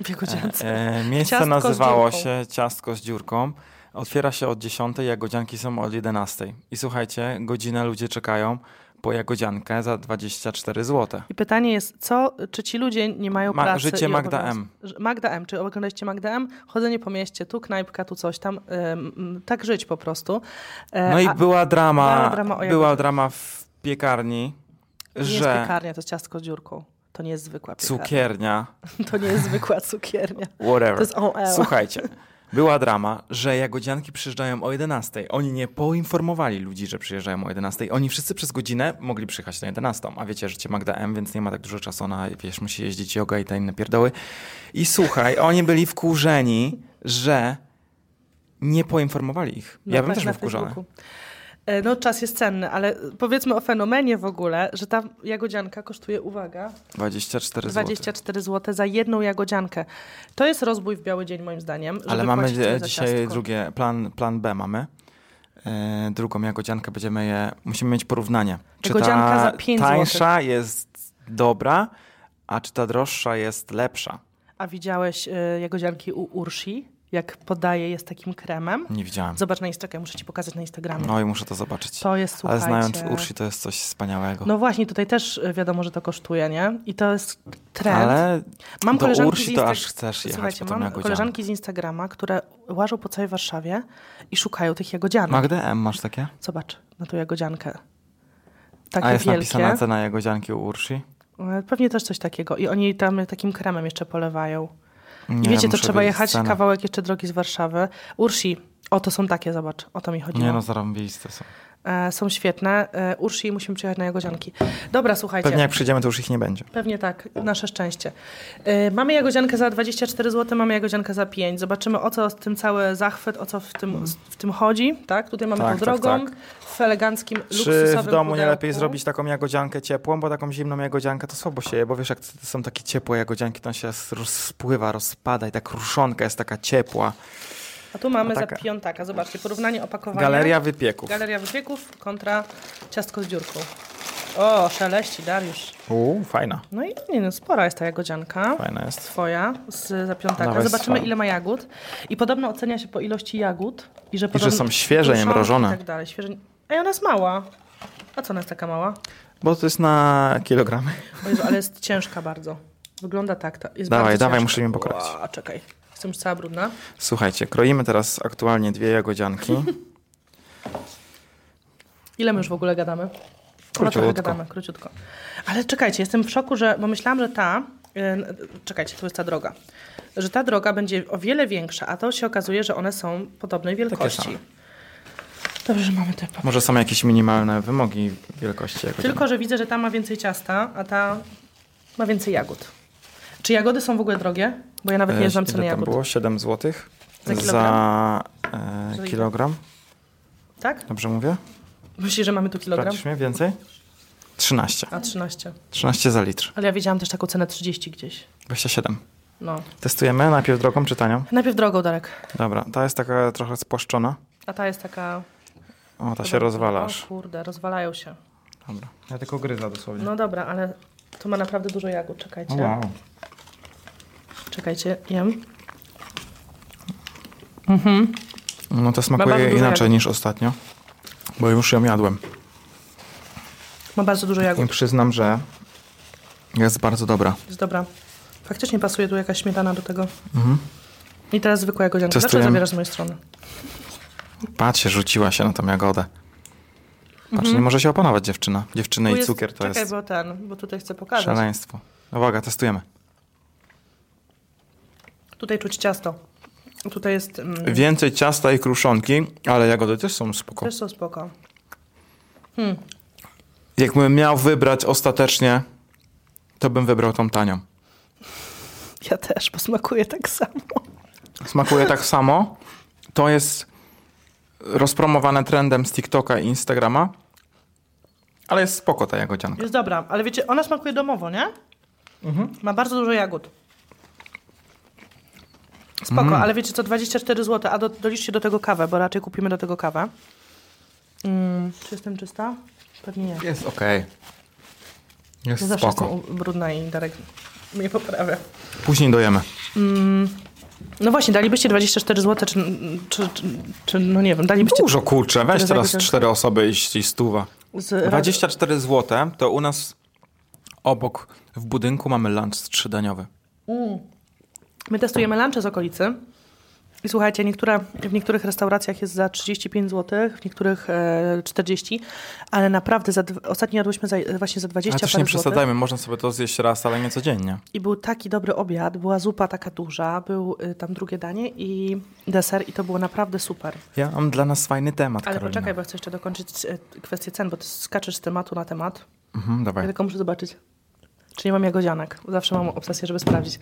Speaker 1: W jagodziance.
Speaker 2: E, miejsce
Speaker 1: Ciastko z
Speaker 2: nazywało
Speaker 1: dziurką.
Speaker 2: się ciastko z dziurką. Otwiera się od 10, jagodzianki są od 11. I słuchajcie, godzinę ludzie czekają po jagodziankę za 24 zł.
Speaker 1: I pytanie jest, co, czy ci ludzie nie mają
Speaker 2: Ma-
Speaker 1: pracy?
Speaker 2: życie
Speaker 1: i
Speaker 2: Magda
Speaker 1: obowiązków? Ż- Magda M. Czy oglądaliście Magda M? Chodzenie po mieście, tu knajpka, tu coś tam. ym, mm, tak żyć po prostu. E,
Speaker 2: No i
Speaker 1: a
Speaker 2: była drama,
Speaker 1: była drama o jagodzianki.
Speaker 2: była drama w piekarni,
Speaker 1: nie jest
Speaker 2: że
Speaker 1: piekarnia, to jest ciastko z dziurką. To nie jest zwykła piekarnia.
Speaker 2: cukiernia,
Speaker 1: To nie jest zwykła cukiernia.
Speaker 2: whatever.
Speaker 1: To jest E, OL.
Speaker 2: Słuchajcie, była drama, że jagodzianki przyjeżdżają o 11. Oni nie poinformowali ludzi, że przyjeżdżają o 11. Oni wszyscy przez godzinę mogli przyjechać na 11. A wiecie, życie Magda M, więc nie ma tak dużo czasu na, wiesz, musi jeździć yoga i te inne pierdoły. I słuchaj, oni byli wkurzeni, że nie poinformowali ich.
Speaker 1: No
Speaker 2: ja bym
Speaker 1: tak,
Speaker 2: też
Speaker 1: na
Speaker 2: był wkurzony.
Speaker 1: Facebooku. E, No czas jest cenny, ale powiedzmy o fenomenie w ogóle, że ta jagodzianka kosztuje, uwaga,
Speaker 2: 24 zł.
Speaker 1: 24 zł za jedną jagodziankę. To jest rozbój w biały dzień moim zdaniem. żeby
Speaker 2: Ale mamy
Speaker 1: płacić tyle
Speaker 2: e,
Speaker 1: za
Speaker 2: dzisiaj
Speaker 1: ciastko.
Speaker 2: drugie, plan, plan B mamy. E, drugą jagodziankę będziemy je, musimy mieć porównanie. Czy
Speaker 1: Jagodzianka
Speaker 2: ta
Speaker 1: za pięć
Speaker 2: tańsza jest dobra, a czy ta droższa jest lepsza?
Speaker 1: A widziałeś y, jagodzianki u Ursi, jak podaje je z takim kremem?
Speaker 2: Nie widziałem.
Speaker 1: Zobacz na Instagramie, muszę ci pokazać na Instagramie.
Speaker 2: No i muszę to zobaczyć.
Speaker 1: To jest,
Speaker 2: Ale
Speaker 1: słuchajcie...
Speaker 2: znając Ursi, to jest coś wspaniałego.
Speaker 1: No właśnie, tutaj też y, wiadomo, że to kosztuje, nie? I to jest trend.
Speaker 2: Ale
Speaker 1: Mam
Speaker 2: do
Speaker 1: koleżanki z
Speaker 2: Ursi to
Speaker 1: Insta-
Speaker 2: aż chcesz jechać
Speaker 1: Słuchajcie,
Speaker 2: po tą
Speaker 1: mam
Speaker 2: jagodziankę.
Speaker 1: koleżanki z Instagrama, które łażą po całej Warszawie i szukają tych jagodzianek.
Speaker 2: Magdę M masz takie?
Speaker 1: Zobacz na tą jagodziankę. Takie
Speaker 2: a jest
Speaker 1: wielkie.
Speaker 2: napisana cena jagodzianki u Ursi?
Speaker 1: E, Pewnie też coś takiego. I oni tam takim kremem jeszcze polewają. I
Speaker 2: Nie,
Speaker 1: wiecie, to
Speaker 2: muszę
Speaker 1: trzeba
Speaker 2: wiedzieć
Speaker 1: jechać
Speaker 2: cenę.
Speaker 1: kawałek jeszcze drogi z Warszawy. Ursi, o to są takie, zobacz, o to mi chodziło.
Speaker 2: Nie no, zarąbiste są.
Speaker 1: E, są świetne. E, Ursi, musimy przyjechać na Jagodzianki. Dobra, słuchajcie.
Speaker 2: Pewnie jak przyjdziemy, to już ich nie będzie.
Speaker 1: Pewnie tak, nasze szczęście. E, mamy Jagodziankę za 24 zł, mamy Jagodziankę za 5. Zobaczymy, o co z tym cały zachwyt, o co w tym, w tym chodzi. Tak? Tutaj mamy
Speaker 2: Mhm. Tak,
Speaker 1: tą
Speaker 2: tak,
Speaker 1: drogą
Speaker 2: tak.
Speaker 1: w eleganckim,
Speaker 2: Czy
Speaker 1: luksusowym
Speaker 2: w domu nie
Speaker 1: pudełku.
Speaker 2: lepiej zrobić taką jagodziankę ciepłą, bo taką zimną jagodziankę to słabo się je, bo wiesz, jak to są takie ciepłe jagodzianki, to on się rozpływa, rozpada i tak kruszonka jest taka ciepła.
Speaker 1: A tu mamy
Speaker 2: A
Speaker 1: za
Speaker 2: taka.
Speaker 1: piątaka. Zobaczcie, porównanie opakowania.
Speaker 2: Galeria wypieków.
Speaker 1: Galeria wypieków kontra ciastko z dziurką. O, szaleści, Dariusz.
Speaker 2: Uuu, fajna.
Speaker 1: No i nie no, spora jest ta jagodzianka.
Speaker 2: Fajna jest.
Speaker 1: Twoja z zapiątaka.
Speaker 2: Dawaj,
Speaker 1: Zobaczymy,
Speaker 2: swoją.
Speaker 1: ile ma jagód. I podobno ocenia się po ilości jagód. I że, podobno,
Speaker 2: są świeże, nie
Speaker 1: kruszonki
Speaker 2: mrożone.
Speaker 1: I tak dalej. Świeże... Ej, ona jest mała. A co ona jest taka mała?
Speaker 2: Bo to jest na kilogramy.
Speaker 1: O Jezu, ale jest ciężka bardzo. Wygląda tak. Ta jest
Speaker 2: Dawaj,
Speaker 1: bardzo
Speaker 2: dawaj,
Speaker 1: ciężka.
Speaker 2: muszę mi pokrać.
Speaker 1: Ła, czekaj. Jestem już cała brudna.
Speaker 2: Słuchajcie, kroimy teraz aktualnie dwie jagodzianki.
Speaker 1: Ile my już w ogóle gadamy? No trochę
Speaker 2: Króciutko.
Speaker 1: gadamy, króciutko. Ale czekajcie, jestem w szoku, że, bo myślałam, że ta, y, n- czekajcie, tu jest ta droga, że ta droga będzie o wiele większa, a to się okazuje, że one są podobnej wielkości.
Speaker 2: same.
Speaker 1: Dobrze, że mamy te papier.
Speaker 2: Może są jakieś minimalne wymogi wielkości jagodzianki.
Speaker 1: Tylko, że widzę, że ta ma więcej ciasta, a ta ma więcej jagód. Czy jagody są w ogóle drogie? Bo ja nawet nie
Speaker 2: E,
Speaker 1: znam
Speaker 2: ile
Speaker 1: ceny
Speaker 2: tam
Speaker 1: jagód.
Speaker 2: było? 7 zł
Speaker 1: Za
Speaker 2: za
Speaker 1: Za
Speaker 2: e,
Speaker 1: ile?
Speaker 2: kilogram.
Speaker 1: Tak?
Speaker 2: Dobrze mówię?
Speaker 1: Myślisz, że mamy tu kilogram?
Speaker 2: Sprawdzisz mnie więcej? 13.
Speaker 1: A 13.
Speaker 2: 13 za litr.
Speaker 1: Ale ja widziałam też taką cenę 30 gdzieś.
Speaker 2: 27.
Speaker 1: No.
Speaker 2: Testujemy najpierw drogą czy tanią?
Speaker 1: Najpierw drogą, Darek.
Speaker 2: Dobra, ta jest taka trochę spłaszczona.
Speaker 1: A ta jest taka...
Speaker 2: O, ta się rozwala aż.
Speaker 1: O kurde, rozwalają się.
Speaker 2: Dobra. Ja tylko gryza dosłownie.
Speaker 1: No dobra, ale to ma naprawdę dużo jagód, czekajcie.
Speaker 2: O, wow.
Speaker 1: Czekajcie, jem.
Speaker 2: No to smakuje
Speaker 1: bardzo dużo
Speaker 2: inaczej
Speaker 1: jagód.
Speaker 2: niż ostatnio, bo już ją jadłem.
Speaker 1: Ma bardzo dużo
Speaker 2: I
Speaker 1: jagód.
Speaker 2: przyznam, że jest bardzo dobra.
Speaker 1: Jest dobra. Faktycznie pasuje tu jakaś śmietana do tego. I teraz zwykła jagodzianka.
Speaker 2: Testujem.
Speaker 1: Dlaczego zabierasz z mojej strony?
Speaker 2: Patrz, się rzuciła się na tą jagodę. Patrz, nie może się opanować dziewczyna. Dziewczyny
Speaker 1: Tu
Speaker 2: No i
Speaker 1: jest-
Speaker 2: cukier to
Speaker 1: Czekaj,
Speaker 2: jest
Speaker 1: Mhm. bo ten, bo tutaj chcę pokazać.
Speaker 2: szaleństwo. No Uwaga, testujemy.
Speaker 1: Tutaj czuć ciasto. Tutaj jest... Mm,
Speaker 2: Więcej ciasta i kruszonki, ale jagody też są spoko.
Speaker 1: też są spoko.
Speaker 2: Jakbym miał wybrać ostatecznie, to bym wybrał tą tanią.
Speaker 1: Ja też, bo smakuje tak samo.
Speaker 2: Smakuje tak samo. To jest rozpromowane trendem z TikToka i Instagrama. Ale jest spoko ta jagodzianka.
Speaker 1: Jest dobra, ale wiecie, ona smakuje domowo, nie? Ma bardzo dużo jagód. Spoko, ale wiecie co, 24 zł, a do, doliczcie do tego kawę, bo raczej kupimy do tego kawę. Mm, czy jestem czysta? Pewnie nie.
Speaker 2: Jest okej.
Speaker 1: Ja
Speaker 2: Jest
Speaker 1: zawsze
Speaker 2: spoko.
Speaker 1: jestem u- brudna i Darek mnie poprawia.
Speaker 2: Później dojemy.
Speaker 1: No właśnie, dalibyście 24 zł, czy, czy, czy, czy no nie wiem, dalibyście...
Speaker 2: Dużo kurczę, weź
Speaker 1: Teraz
Speaker 2: teraz
Speaker 1: jakoś-
Speaker 2: cztery osoby i, i stuwa.
Speaker 1: Z,
Speaker 2: 24 zł to u nas obok w budynku mamy lunch trzydaniowy.
Speaker 1: Mm. My testujemy lunche z okolicy. I słuchajcie, niektóre, w niektórych restauracjach jest za 35 zł, w niektórych e, 40, ale naprawdę za, dw- ostatnio jadłyśmy za, właśnie za 20
Speaker 2: Ale też
Speaker 1: parę
Speaker 2: nie
Speaker 1: złotych.
Speaker 2: przesadzajmy, można sobie to zjeść raz, ale nie codziennie.
Speaker 1: I był taki dobry obiad, była zupa taka duża, był y, tam drugie danie i deser i to było naprawdę super.
Speaker 2: Ja mam dla nas fajny temat,
Speaker 1: Ale
Speaker 2: Karolina.
Speaker 1: poczekaj, bo chcę jeszcze dokończyć e, kwestię cen, bo ty skaczesz z tematu na temat.
Speaker 2: Mhm,
Speaker 1: Ja
Speaker 2: dawaj.
Speaker 1: tylko muszę zobaczyć. Czy nie mam jagodzianek? Zawsze mam obsesję, żeby sprawdzić.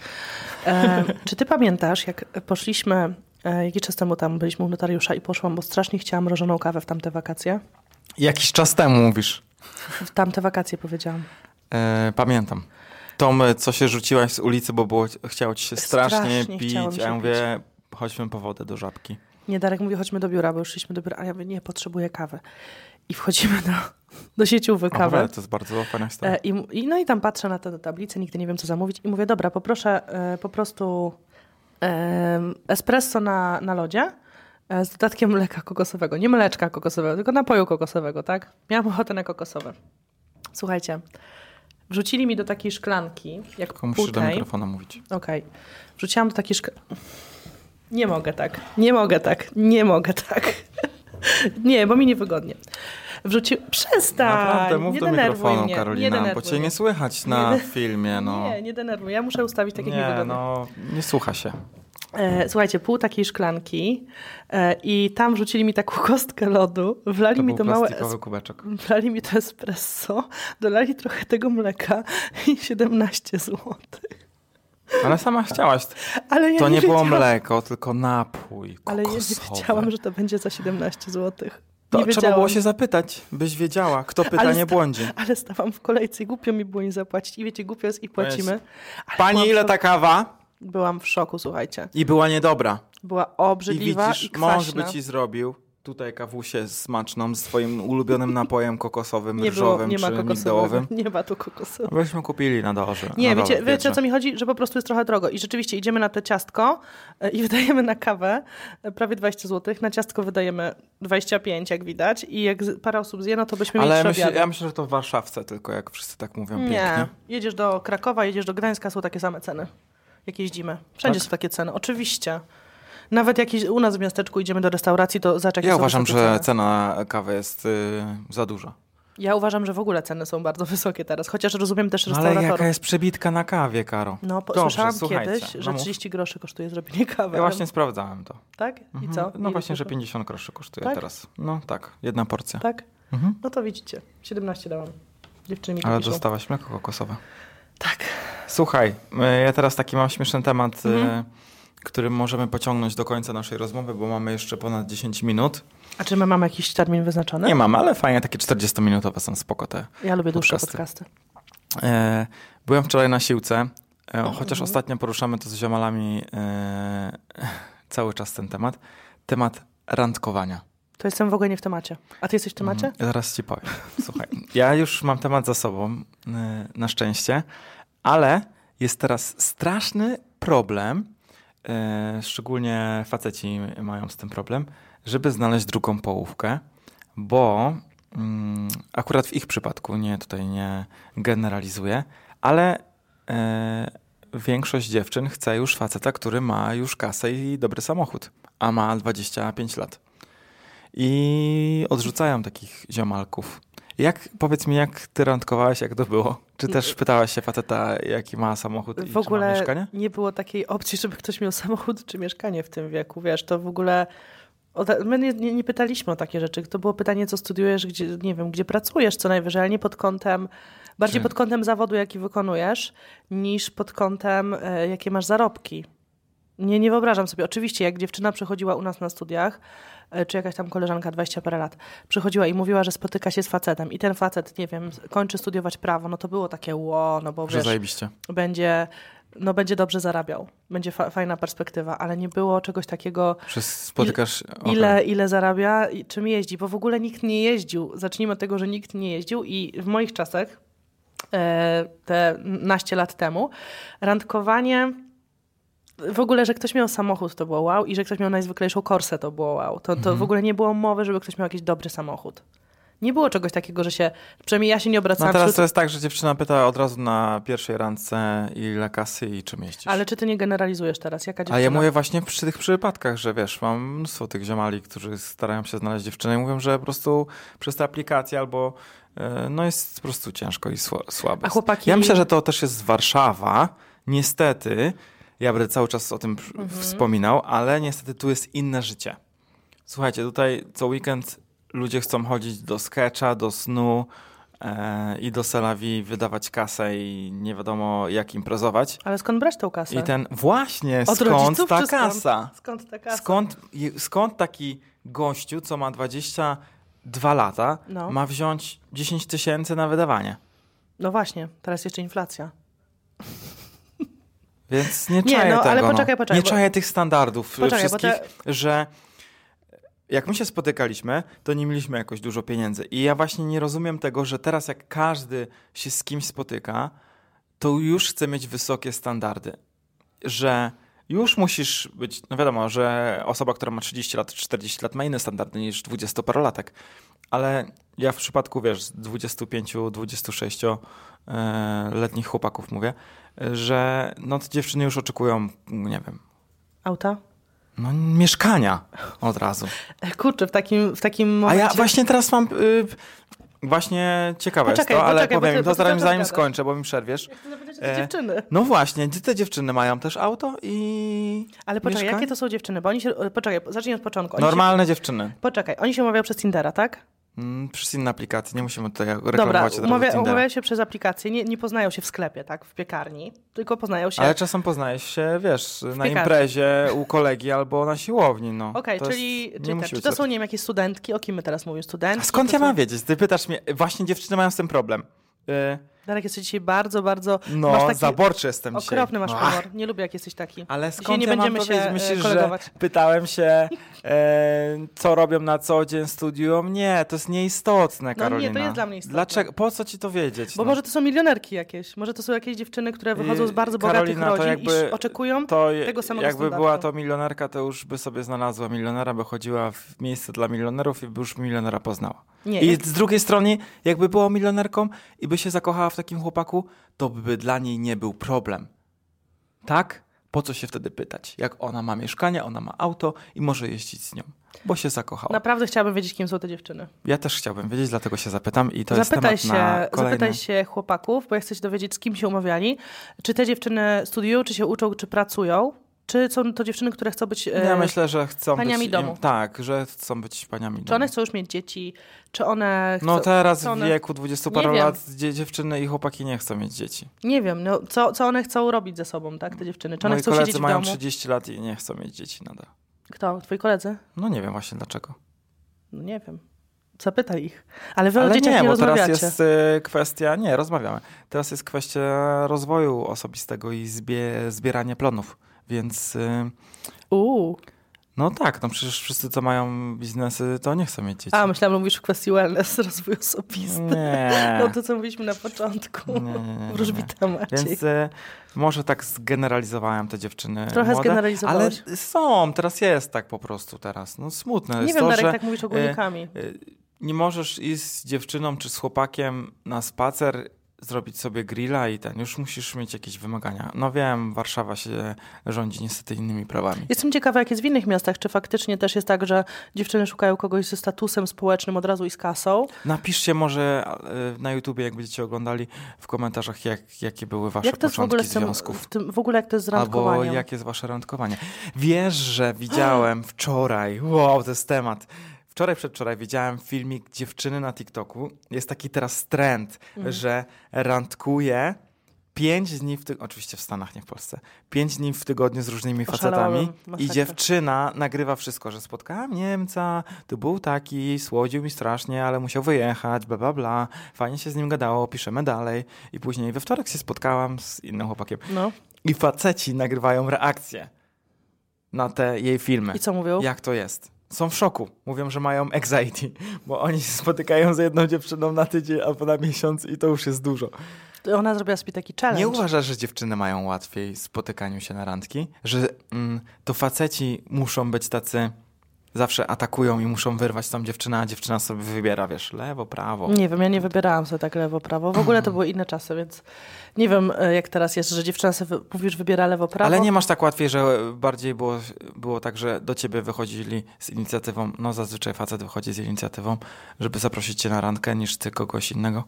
Speaker 1: E, czy ty pamiętasz, jak poszliśmy, e, jakiś czas temu tam byliśmy u notariusza i poszłam, bo strasznie chciałam mrożoną kawę w tamte wakacje?
Speaker 2: Jakiś czas temu mówisz.
Speaker 1: W tamte wakacje powiedziałam.
Speaker 2: E, pamiętam. Tom, e, co się rzuciłaś z ulicy, bo było, chciało ci się strasznie,
Speaker 1: Strasznie
Speaker 2: pić.
Speaker 1: chciało mi się
Speaker 2: ja mówię, chodźmy po wodę do żabki.
Speaker 1: Nie, Darek mówi, chodźmy do biura, bo już szliśmy do biura, a ja mówię, nie, potrzebuję kawy. I wchodzimy do, do sieciówy kawy.
Speaker 2: Naprawdę, to jest bardzo fajna historia.
Speaker 1: E, i, mu- i, no i tam patrzę na tę tablicę, nigdy nie wiem, co zamówić i mówię, dobra, poproszę e, po prostu e, espresso na, na lodzie e, z dodatkiem mleka kokosowego. Nie mleczka kokosowego, tylko napoju kokosowego, tak? Miałam ochotę na kokosowe. Słuchajcie, wrzucili mi do takiej szklanki, jak
Speaker 2: Tylko musisz do
Speaker 1: półtej.
Speaker 2: mikrofonu mówić.
Speaker 1: Okej. Wrzuciłam do takiej szk... Nie mogę tak. Nie mogę tak. Nie mogę tak. nie, bo mi niewygodnie. Wrzucił... Przestań!
Speaker 2: Naprawdę,
Speaker 1: Tak,
Speaker 2: mów
Speaker 1: nie
Speaker 2: do
Speaker 1: denerwuj
Speaker 2: mikrofonu,
Speaker 1: mnie. nie
Speaker 2: Karolina,
Speaker 1: denerwuj
Speaker 2: bo cię
Speaker 1: mnie.
Speaker 2: nie słychać na
Speaker 1: Nie de-
Speaker 2: filmie, no.
Speaker 1: Nie, nie denerwuj. Ja muszę ustawić takich
Speaker 2: Nie,
Speaker 1: niewygodnych.
Speaker 2: no, nie słucha się.
Speaker 1: E, słuchajcie, pół takiej szklanki e, i tam wrzucili mi taką kostkę lodu, wlali
Speaker 2: To
Speaker 1: mi
Speaker 2: był
Speaker 1: to małe...
Speaker 2: plastikowy kubeczek.
Speaker 1: Wlali mi to espresso, dolali trochę tego mleka i 17 zł.
Speaker 2: Ale sama chciałaś.
Speaker 1: Ale ja
Speaker 2: To
Speaker 1: nie
Speaker 2: nie było
Speaker 1: wiedziałam-
Speaker 2: mleko, tylko napój
Speaker 1: Ale ja nie
Speaker 2: kokosowy.
Speaker 1: wiedziałam, że to będzie za 17 zł.
Speaker 2: To
Speaker 1: nie
Speaker 2: trzeba
Speaker 1: wiedziałam.
Speaker 2: było się zapytać, byś wiedziała, kto pyta,
Speaker 1: Ale
Speaker 2: nie
Speaker 1: sta-
Speaker 2: błądzi.
Speaker 1: Ale stałam w kolejce i głupio mi było nie zapłacić. I wiecie, głupio jest i płacimy.
Speaker 2: Jest.
Speaker 1: Ale byłam w
Speaker 2: Pani, ile tak-
Speaker 1: szoku-
Speaker 2: ta kawa?
Speaker 1: Byłam w szoku, słuchajcie.
Speaker 2: I była niedobra.
Speaker 1: Była
Speaker 2: I
Speaker 1: obrzydliwa i,
Speaker 2: widzisz, mąż
Speaker 1: kwaśna.
Speaker 2: by ci zrobił tutaj kawusię smaczną z twoim ulubionym napojem kokosowym,
Speaker 1: nie było,
Speaker 2: ryżowym
Speaker 1: nie ma
Speaker 2: czy
Speaker 1: kokosowego.
Speaker 2: migdałowym. No
Speaker 1: Nie ma tu kokosu.
Speaker 2: Byśmy kupili na dole.
Speaker 1: Nie,
Speaker 2: na dole,
Speaker 1: wiecie, wiecie o
Speaker 2: wiecie.
Speaker 1: co mi chodzi? Że po prostu jest trochę drogo. I rzeczywiście idziemy na to ciastko e, i wydajemy na kawę e, prawie 20 zł. Na ciastko wydajemy 25, jak widać. I jak z- parę osób zje, no to byśmy mieli
Speaker 2: Ale
Speaker 1: trzy
Speaker 2: myślę,
Speaker 1: obiady.
Speaker 2: ja myślę, że to w Warszawce tylko, jak wszyscy tak mówią
Speaker 1: Nie.
Speaker 2: pięknie.
Speaker 1: Jedziesz do Krakowa, jedziesz do Gdańska, są takie same ceny, jak jeździmy. Wszędzie
Speaker 2: Tak.
Speaker 1: są takie ceny, oczywiście. Nawet jak jeździ- u nas w miasteczku idziemy do restauracji, to zobacz, jakie
Speaker 2: Ja
Speaker 1: są
Speaker 2: uważam,
Speaker 1: wysokie
Speaker 2: że
Speaker 1: ceny.
Speaker 2: cena kawy jest y, za duża.
Speaker 1: Ja uważam, że w ogóle ceny są bardzo wysokie teraz, chociaż rozumiem też
Speaker 2: No, ale
Speaker 1: restauratorów.
Speaker 2: jaka jest przebitka na kawie, Karo?
Speaker 1: No, po,
Speaker 2: Dobrze,
Speaker 1: słyszałam
Speaker 2: słuchajcie,
Speaker 1: kiedyś,
Speaker 2: no
Speaker 1: że
Speaker 2: mów.
Speaker 1: 30 groszy kosztuje zrobienie kawy.
Speaker 2: Ja właśnie sprawdzałem to.
Speaker 1: Tak? I co?
Speaker 2: No
Speaker 1: Ile
Speaker 2: właśnie, że
Speaker 1: to-
Speaker 2: 50 groszy kosztuje
Speaker 1: Tak?
Speaker 2: teraz. No tak, jedna porcja. Mhm.
Speaker 1: Tak? No to widzicie, 17 dałam. Dziewczyny mi
Speaker 2: Ale
Speaker 1: piszą.
Speaker 2: dostałaś mleko kokosowe.
Speaker 1: Tak.
Speaker 2: Słuchaj, e, ja teraz taki mam śmieszny temat,
Speaker 1: Mhm.
Speaker 2: e, który możemy pociągnąć do końca naszej rozmowy, bo mamy jeszcze ponad 10 minut.
Speaker 1: A czy my mamy jakiś termin wyznaczony?
Speaker 2: Nie mam, ale fajnie, takie 40-minutowe są spoko te.
Speaker 1: Ja lubię dłuższe
Speaker 2: Podcasty.
Speaker 1: podcasty.
Speaker 2: E, Byłem wczoraj na siłce, e, chociaż
Speaker 1: Mhm.
Speaker 2: ostatnio poruszamy to z ziomalami e, cały czas ten temat. Temat randkowania.
Speaker 1: To jestem w ogóle nie w temacie. A ty jesteś w temacie?
Speaker 2: Mhm. Ja zaraz ci powiem. Słuchaj, ja już mam temat za sobą, y, na szczęście, ale jest teraz straszny problem, e, szczególnie faceci mają z tym problem, żeby znaleźć drugą połówkę, bo mm, akurat w ich przypadku, nie tutaj nie generalizuję, ale e, większość dziewczyn chce już faceta, który ma już kasę i dobry samochód, a ma 25 lat. I odrzucają takich ziomalków. Jak, powiedz mi, jak ty randkowałeś, jak to było? Czy też pytałaś się faceta, jaki ma samochód i
Speaker 1: W
Speaker 2: czy ma
Speaker 1: ogóle
Speaker 2: mieszkanie?
Speaker 1: nie było takiej opcji, żeby ktoś miał samochód czy mieszkanie w tym wieku, wiesz, to w ogóle... o ta- My nie, nie, nie pytaliśmy o takie rzeczy. To było pytanie, co studiujesz, gdzie, nie wiem, gdzie pracujesz co najwyżej, ale nie pod kątem, bardziej
Speaker 2: Czy-
Speaker 1: pod kątem zawodu, jaki wykonujesz, niż pod kątem, e, jakie masz zarobki. Nie, nie wyobrażam sobie. Oczywiście, jak dziewczyna przychodziła u nas na studiach, e, czy jakaś tam koleżanka, 20 parę lat, przychodziła i mówiła, że spotyka się z facetem i ten facet, nie wiem, kończy studiować prawo, no to było takie ło, no bo
Speaker 2: Że
Speaker 1: wiesz,
Speaker 2: zajebiście.
Speaker 1: będzie, no będzie dobrze zarabiał, będzie fa- fajna perspektywa, ale nie było czegoś takiego,
Speaker 2: Że spotykasz... okej.
Speaker 1: ile, ile zarabia i czym jeździ, bo w ogóle nikt nie jeździł. Zacznijmy od tego, że nikt nie jeździł i w moich czasach, e, te naście lat temu, randkowanie... W ogóle, że ktoś miał samochód, to było wow, i że ktoś miał najzwyklejszą korsę, to było wow. To, to
Speaker 2: Mhm.
Speaker 1: w ogóle nie było mowy, żeby ktoś miał jakiś dobry samochód. Nie było czegoś takiego, że się, przynajmniej ja się nie
Speaker 2: No
Speaker 1: obracałam
Speaker 2: teraz
Speaker 1: wśród
Speaker 2: to jest tak, że dziewczyna pyta od razu na pierwszej randce ile kasy i czym jeździsz.
Speaker 1: Ale czy ty nie generalizujesz teraz? Jaka dziewczyna?
Speaker 2: A ja mówię właśnie przy tych przypadkach, że wiesz, mam mnóstwo tych ziomali, którzy starają się znaleźć dziewczynę i mówią, że po prostu przez te aplikacje albo e, no jest po prostu ciężko i sła- słabe.
Speaker 1: A chłopaki-
Speaker 2: Ja myślę, że to też jest Warszawa. Niestety, ja będę cały czas o tym przy-
Speaker 1: Mhm.
Speaker 2: wspominał, ale niestety tu jest inne życie. Słuchajcie, tutaj co weekend ludzie chcą chodzić do sketcha, do snu e, i do selawi, wydawać kasę i nie wiadomo jak imprezować.
Speaker 1: Ale skąd brać tą kasę?
Speaker 2: I ten właśnie
Speaker 1: Od
Speaker 2: skąd
Speaker 1: rodziców
Speaker 2: ta
Speaker 1: czy skąd?
Speaker 2: kasa?
Speaker 1: Skąd ta kasa?
Speaker 2: Skąd, je- skąd taki gościu, co ma 22 lata,
Speaker 1: No.
Speaker 2: ma wziąć 10 tysięcy na wydawanie?
Speaker 1: No właśnie, teraz jeszcze inflacja.
Speaker 2: Więc nie
Speaker 1: Nie,
Speaker 2: czaję
Speaker 1: no,
Speaker 2: tego.
Speaker 1: ale poczekaj,
Speaker 2: no.
Speaker 1: poczekaj,
Speaker 2: nie
Speaker 1: bo-
Speaker 2: czaję tych standardów e,
Speaker 1: Poczekaj, bo
Speaker 2: wszystkich, że jak my się spotykaliśmy, to nie mieliśmy jakoś dużo pieniędzy. I ja właśnie nie rozumiem tego, że teraz jak każdy się z kimś spotyka, to już chce mieć wysokie standardy. Że już musisz być, no wiadomo, że osoba, która ma 30 lat, 40 lat ma inne standardy niż 20-parolatek. Ale ja w przypadku, wiesz, 25-26 e, letnich chłopaków mówię, że no to dziewczyny już oczekują, nie wiem,
Speaker 1: Auta?
Speaker 2: no mieszkania od razu.
Speaker 1: E, Kurczę, w takim, w takim
Speaker 2: A
Speaker 1: momencie...
Speaker 2: ja właśnie teraz mam, y, właśnie ciekawe
Speaker 1: Poczekaj,
Speaker 2: jest to, ale
Speaker 1: poczekaj, bo
Speaker 2: powiem,
Speaker 1: ty- bo
Speaker 2: to
Speaker 1: ty
Speaker 2: zaraz,
Speaker 1: cały czas
Speaker 2: zanim
Speaker 1: gadasz.
Speaker 2: skończę, bo mi przerwiesz.
Speaker 1: Chcę zapytać o
Speaker 2: E,
Speaker 1: te dziewczyny.
Speaker 2: No właśnie, gdzie te dziewczyny mają też auto i
Speaker 1: Ale poczekaj,
Speaker 2: mieszkanie?
Speaker 1: jakie to są dziewczyny? Bo oni się... e, Poczekaj, zacznij od początku. Oni
Speaker 2: Normalne dziewczyny.
Speaker 1: Się... Poczekaj, oni się umawiają przez Tindera, tak?
Speaker 2: Mm, Przez inne aplikacje, nie musimy tutaj
Speaker 1: Dobra,
Speaker 2: reklamować od razu
Speaker 1: umawia,
Speaker 2: Tindera.
Speaker 1: umawiają się przez aplikację, nie, nie poznają się w sklepie, tak? W piekarni, tylko poznają się...
Speaker 2: Ale czasem poznajesz się, wiesz, na
Speaker 1: piekarni.
Speaker 2: imprezie u kolegi albo na siłowni, no.
Speaker 1: Okej,
Speaker 2: To
Speaker 1: czyli,
Speaker 2: jest- nie
Speaker 1: czyli tak,
Speaker 2: musi
Speaker 1: czy
Speaker 2: być
Speaker 1: to
Speaker 2: za-
Speaker 1: są, nie wiem, jakieś studentki? O kim my teraz mówimy? Studentki?
Speaker 2: A skąd
Speaker 1: to
Speaker 2: ja
Speaker 1: są-
Speaker 2: mam wiedzieć? Ty pytasz mnie, właśnie dziewczyny mają z tym problem. Y,
Speaker 1: Darek, jesteś dzisiaj bardzo, bardzo...
Speaker 2: No,
Speaker 1: masz taki
Speaker 2: zaborczy jestem dzisiaj.
Speaker 1: Okropny masz
Speaker 2: No,
Speaker 1: humor. Nie lubię, jak jesteś taki.
Speaker 2: Ale
Speaker 1: Dzisiaj
Speaker 2: skąd
Speaker 1: nie
Speaker 2: ja mam
Speaker 1: będziemy
Speaker 2: to
Speaker 1: się,
Speaker 2: wiedzieć?
Speaker 1: e,
Speaker 2: Myślisz, że
Speaker 1: kolegować.
Speaker 2: pytałem się, e, co robią na co dzień, studiują? Nie, to jest nieistotne,
Speaker 1: No nie, to
Speaker 2: Karolina.
Speaker 1: jest dla mnie istotne.
Speaker 2: Dlaczego? Po co ci to wiedzieć?
Speaker 1: Bo
Speaker 2: no?
Speaker 1: może to są milionerki jakieś, może to są jakieś dziewczyny, które wychodzą z
Speaker 2: I-
Speaker 1: bardzo
Speaker 2: Y, Karolina, to
Speaker 1: bogatych rodzin i
Speaker 2: jakby-
Speaker 1: sz- oczekują.
Speaker 2: to je-
Speaker 1: tego samego
Speaker 2: Jakby
Speaker 1: standardu.
Speaker 2: była to milionerka, to już by sobie znalazła milionera, by chodziła w miejsce dla milionerów i by już milionera poznała.
Speaker 1: Nie,
Speaker 2: I
Speaker 1: jak-
Speaker 2: z drugiej strony, jakby była milionerką i by się zakochała w takim chłopaku, to by dla niej nie był problem. Tak? Po co się wtedy pytać? Jak ona ma mieszkanie, ona ma auto i może jeździć z nią, bo się zakochała.
Speaker 1: Naprawdę chciałabym wiedzieć, kim są te dziewczyny.
Speaker 2: Ja też chciałbym wiedzieć, dlatego się zapytam i to
Speaker 1: zapytaj,
Speaker 2: jest
Speaker 1: się,
Speaker 2: temat na kolejny...
Speaker 1: zapytaj się chłopaków, bo ja chcę się dowiedzieć, z kim się umawiali. Czy te dziewczyny studiują, czy się uczą, czy pracują? Czy są to dziewczyny, które chcą być... e,
Speaker 2: No Ja myślę, że chcą
Speaker 1: paniami
Speaker 2: być...
Speaker 1: domu.
Speaker 2: Tak, że chcą być paniami domu.
Speaker 1: Czy one chcą już mieć dzieci? Czy one chcą...
Speaker 2: No teraz
Speaker 1: co
Speaker 2: w
Speaker 1: one-
Speaker 2: wieku 20
Speaker 1: Nie
Speaker 2: paru
Speaker 1: wiem.
Speaker 2: lat dzie- dziewczyny i chłopaki nie chcą mieć dzieci.
Speaker 1: Nie wiem, no, co, co one chcą robić ze sobą, tak, te dziewczyny? Czy one
Speaker 2: Moi
Speaker 1: chcą
Speaker 2: koledzy
Speaker 1: siedzieć w
Speaker 2: mają
Speaker 1: domu?
Speaker 2: 30 lat i nie chcą mieć dzieci nadal.
Speaker 1: Kto? Twoi koledzy?
Speaker 2: No nie wiem właśnie dlaczego.
Speaker 1: No nie wiem. Zapytaj ich. Ale wy o
Speaker 2: Ale
Speaker 1: dzieciach nie,
Speaker 2: nie, bo teraz
Speaker 1: rozmawiacie.
Speaker 2: jest y, kwestia, nie, rozmawiamy. Teraz jest kwestia rozwoju osobistego i zbie, zbierania plonów, więc y,
Speaker 1: Uuu.
Speaker 2: No tak, no przecież wszyscy, co mają biznesy, to nie chcą mieć dzieci.
Speaker 1: A, myślałam, że mówisz w kwestii wellness, rozwój osobisty.
Speaker 2: nie.
Speaker 1: No to, co mówiliśmy na początku.
Speaker 2: Nie, nie, nie, nie, nie.
Speaker 1: Wróżbita Maciej.
Speaker 2: Więc e, może tak zgeneralizowałem te dziewczyny.
Speaker 1: znaczy- Trochę
Speaker 2: młode, Ale
Speaker 1: zgeneralizowałeś.
Speaker 2: są, teraz jest tak po prostu teraz. No smutne
Speaker 1: nie
Speaker 2: jest
Speaker 1: wiem,
Speaker 2: to,
Speaker 1: Darek,
Speaker 2: że
Speaker 1: tak mówisz ogólnikami.
Speaker 2: e, nie możesz iść z dziewczyną czy z chłopakiem na spacer, zrobić sobie grilla i ten. Już musisz mieć jakieś wymagania. No wiem, Warszawa się rządzi niestety innymi prawami.
Speaker 1: Jestem ciekawa, jak jest w innych miastach. Czy faktycznie też jest tak, że dziewczyny szukają kogoś ze statusem społecznym od razu i z kasą?
Speaker 2: Napiszcie może e, na YouTubie, jak będziecie oglądali, w komentarzach, jak, jakie były wasze
Speaker 1: jak to jest w ogóle
Speaker 2: początki
Speaker 1: z tym,
Speaker 2: związków.
Speaker 1: w tym, w ogóle jak to jest z
Speaker 2: Albo
Speaker 1: randkowaniem?
Speaker 2: jakie jest wasze randkowanie? Wiesz, że widziałem wczoraj, wow, to jest temat. Wczoraj, przedwczoraj widziałem filmik dziewczyny na TikToku. Jest taki teraz trend,
Speaker 1: Mhm.
Speaker 2: że randkuje pięć dni w tygodniu, oczywiście w Stanach, nie w Polsce, pięć dni w tygodniu z różnymi
Speaker 1: Oszalałabym,
Speaker 2: facetami i
Speaker 1: masakra.
Speaker 2: dziewczyna nagrywa wszystko, że spotkałam Niemca, to był taki, słodził mi strasznie, ale musiał wyjechać, bla, bla, bla. Fajnie się z nim gadało, piszemy dalej. I później we wtorek się spotkałam z innym chłopakiem.
Speaker 1: No.
Speaker 2: I faceci nagrywają reakcje na te jej filmy.
Speaker 1: I co mówią?
Speaker 2: Jak to jest? Są w szoku. Mówią, że mają anxiety, bo oni się spotykają z jedną dziewczyną na tydzień albo na miesiąc i to już jest dużo.
Speaker 1: Ona zrobiła sobie taki challenge.
Speaker 2: Nie uważasz, że dziewczyny mają łatwiej w spotykaniu się na randki? Że mm, to faceci muszą być tacy, zawsze atakują i muszą wyrwać tą dziewczynę, a dziewczyna sobie wybiera, wiesz, lewo, prawo.
Speaker 1: Nie wiem, ja nie wybierałam sobie tak lewo, prawo. W ogóle to były inne czasy, więc nie wiem, e, jak teraz jest, że dziewczyna sobie wy- mówisz, wybiera lewo, prawo.
Speaker 2: Ale nie masz tak łatwiej, że bardziej było, było tak, że do ciebie wychodzili z inicjatywą, no zazwyczaj facet wychodzi z inicjatywą, żeby zaprosić cię na randkę, niż ty kogoś innego.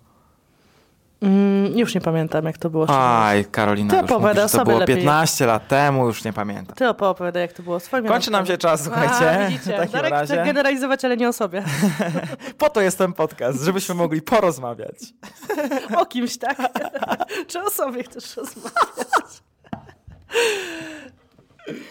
Speaker 1: Mm, już nie pamiętam, jak to było. szczerze.
Speaker 2: Aj, Karolina,
Speaker 1: tak. Ty
Speaker 2: już
Speaker 1: opowiadaj
Speaker 2: mówisz,
Speaker 1: o
Speaker 2: że to
Speaker 1: sobie
Speaker 2: było
Speaker 1: lepiej.
Speaker 2: 15 lat temu, już nie pamiętam.
Speaker 1: Tak. Ty opowiadaj, jak to było. Swoim
Speaker 2: Kończy nam się czas, słuchajcie.
Speaker 1: A, widzicie,
Speaker 2: w takim
Speaker 1: Darek
Speaker 2: razie.
Speaker 1: chce generalizować, ale nie o sobie.
Speaker 2: Po to jest ten podcast, żebyśmy mogli porozmawiać.
Speaker 1: O kimś, tak? Czy o sobie chcesz rozmawiać?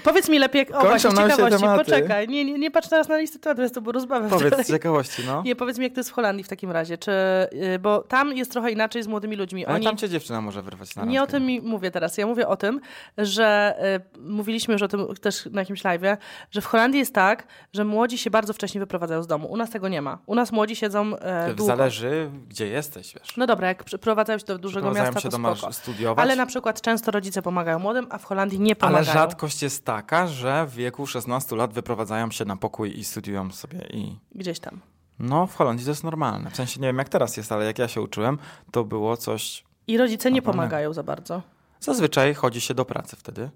Speaker 1: Powiedz mi lepiej, o właśnie,
Speaker 2: nam się
Speaker 1: ciekawości,
Speaker 2: tematy.
Speaker 1: poczekaj, nie, nie, nie patrz teraz na listę tematów, jest to, bo rozmawiam dalej.
Speaker 2: Powiedz z ciekawości, no.
Speaker 1: Nie, powiedz mi, jak to jest w Holandii w takim razie, czy, y, bo tam jest trochę inaczej z młodymi ludźmi.
Speaker 2: Ale
Speaker 1: Oni,
Speaker 2: tam cię dziewczyna może wyrwać na randkę.
Speaker 1: nie o tym mi mówię teraz, ja mówię o tym, że y, mówiliśmy już o tym też na jakimś live'ie, że w Holandii jest tak, że młodzi się bardzo wcześnie wyprowadzają z domu. U nas tego nie ma. U nas młodzi siedzą e, długo.
Speaker 2: Zależy, gdzie jesteś, wiesz.
Speaker 1: No dobra, jak przyprowadzają się do dużego
Speaker 2: Wprowadzają
Speaker 1: miasta,
Speaker 2: się
Speaker 1: to
Speaker 2: do
Speaker 1: spoko.
Speaker 2: mar- studiować.
Speaker 1: Ale na przykład często rodzice pomagają młodym, a w Holandii nie
Speaker 2: Ale
Speaker 1: pomagają.
Speaker 2: rzadkość jest taka, że w wieku 16 lat wyprowadzają się na pokój i studiują sobie i...
Speaker 1: Gdzieś tam.
Speaker 2: No, w Holandii to jest normalne. W sensie nie wiem jak teraz jest, ale jak ja się uczyłem, to było coś...
Speaker 1: I rodzice nie
Speaker 2: Normalne.
Speaker 1: pomagają za bardzo.
Speaker 2: Zazwyczaj chodzi się do pracy wtedy.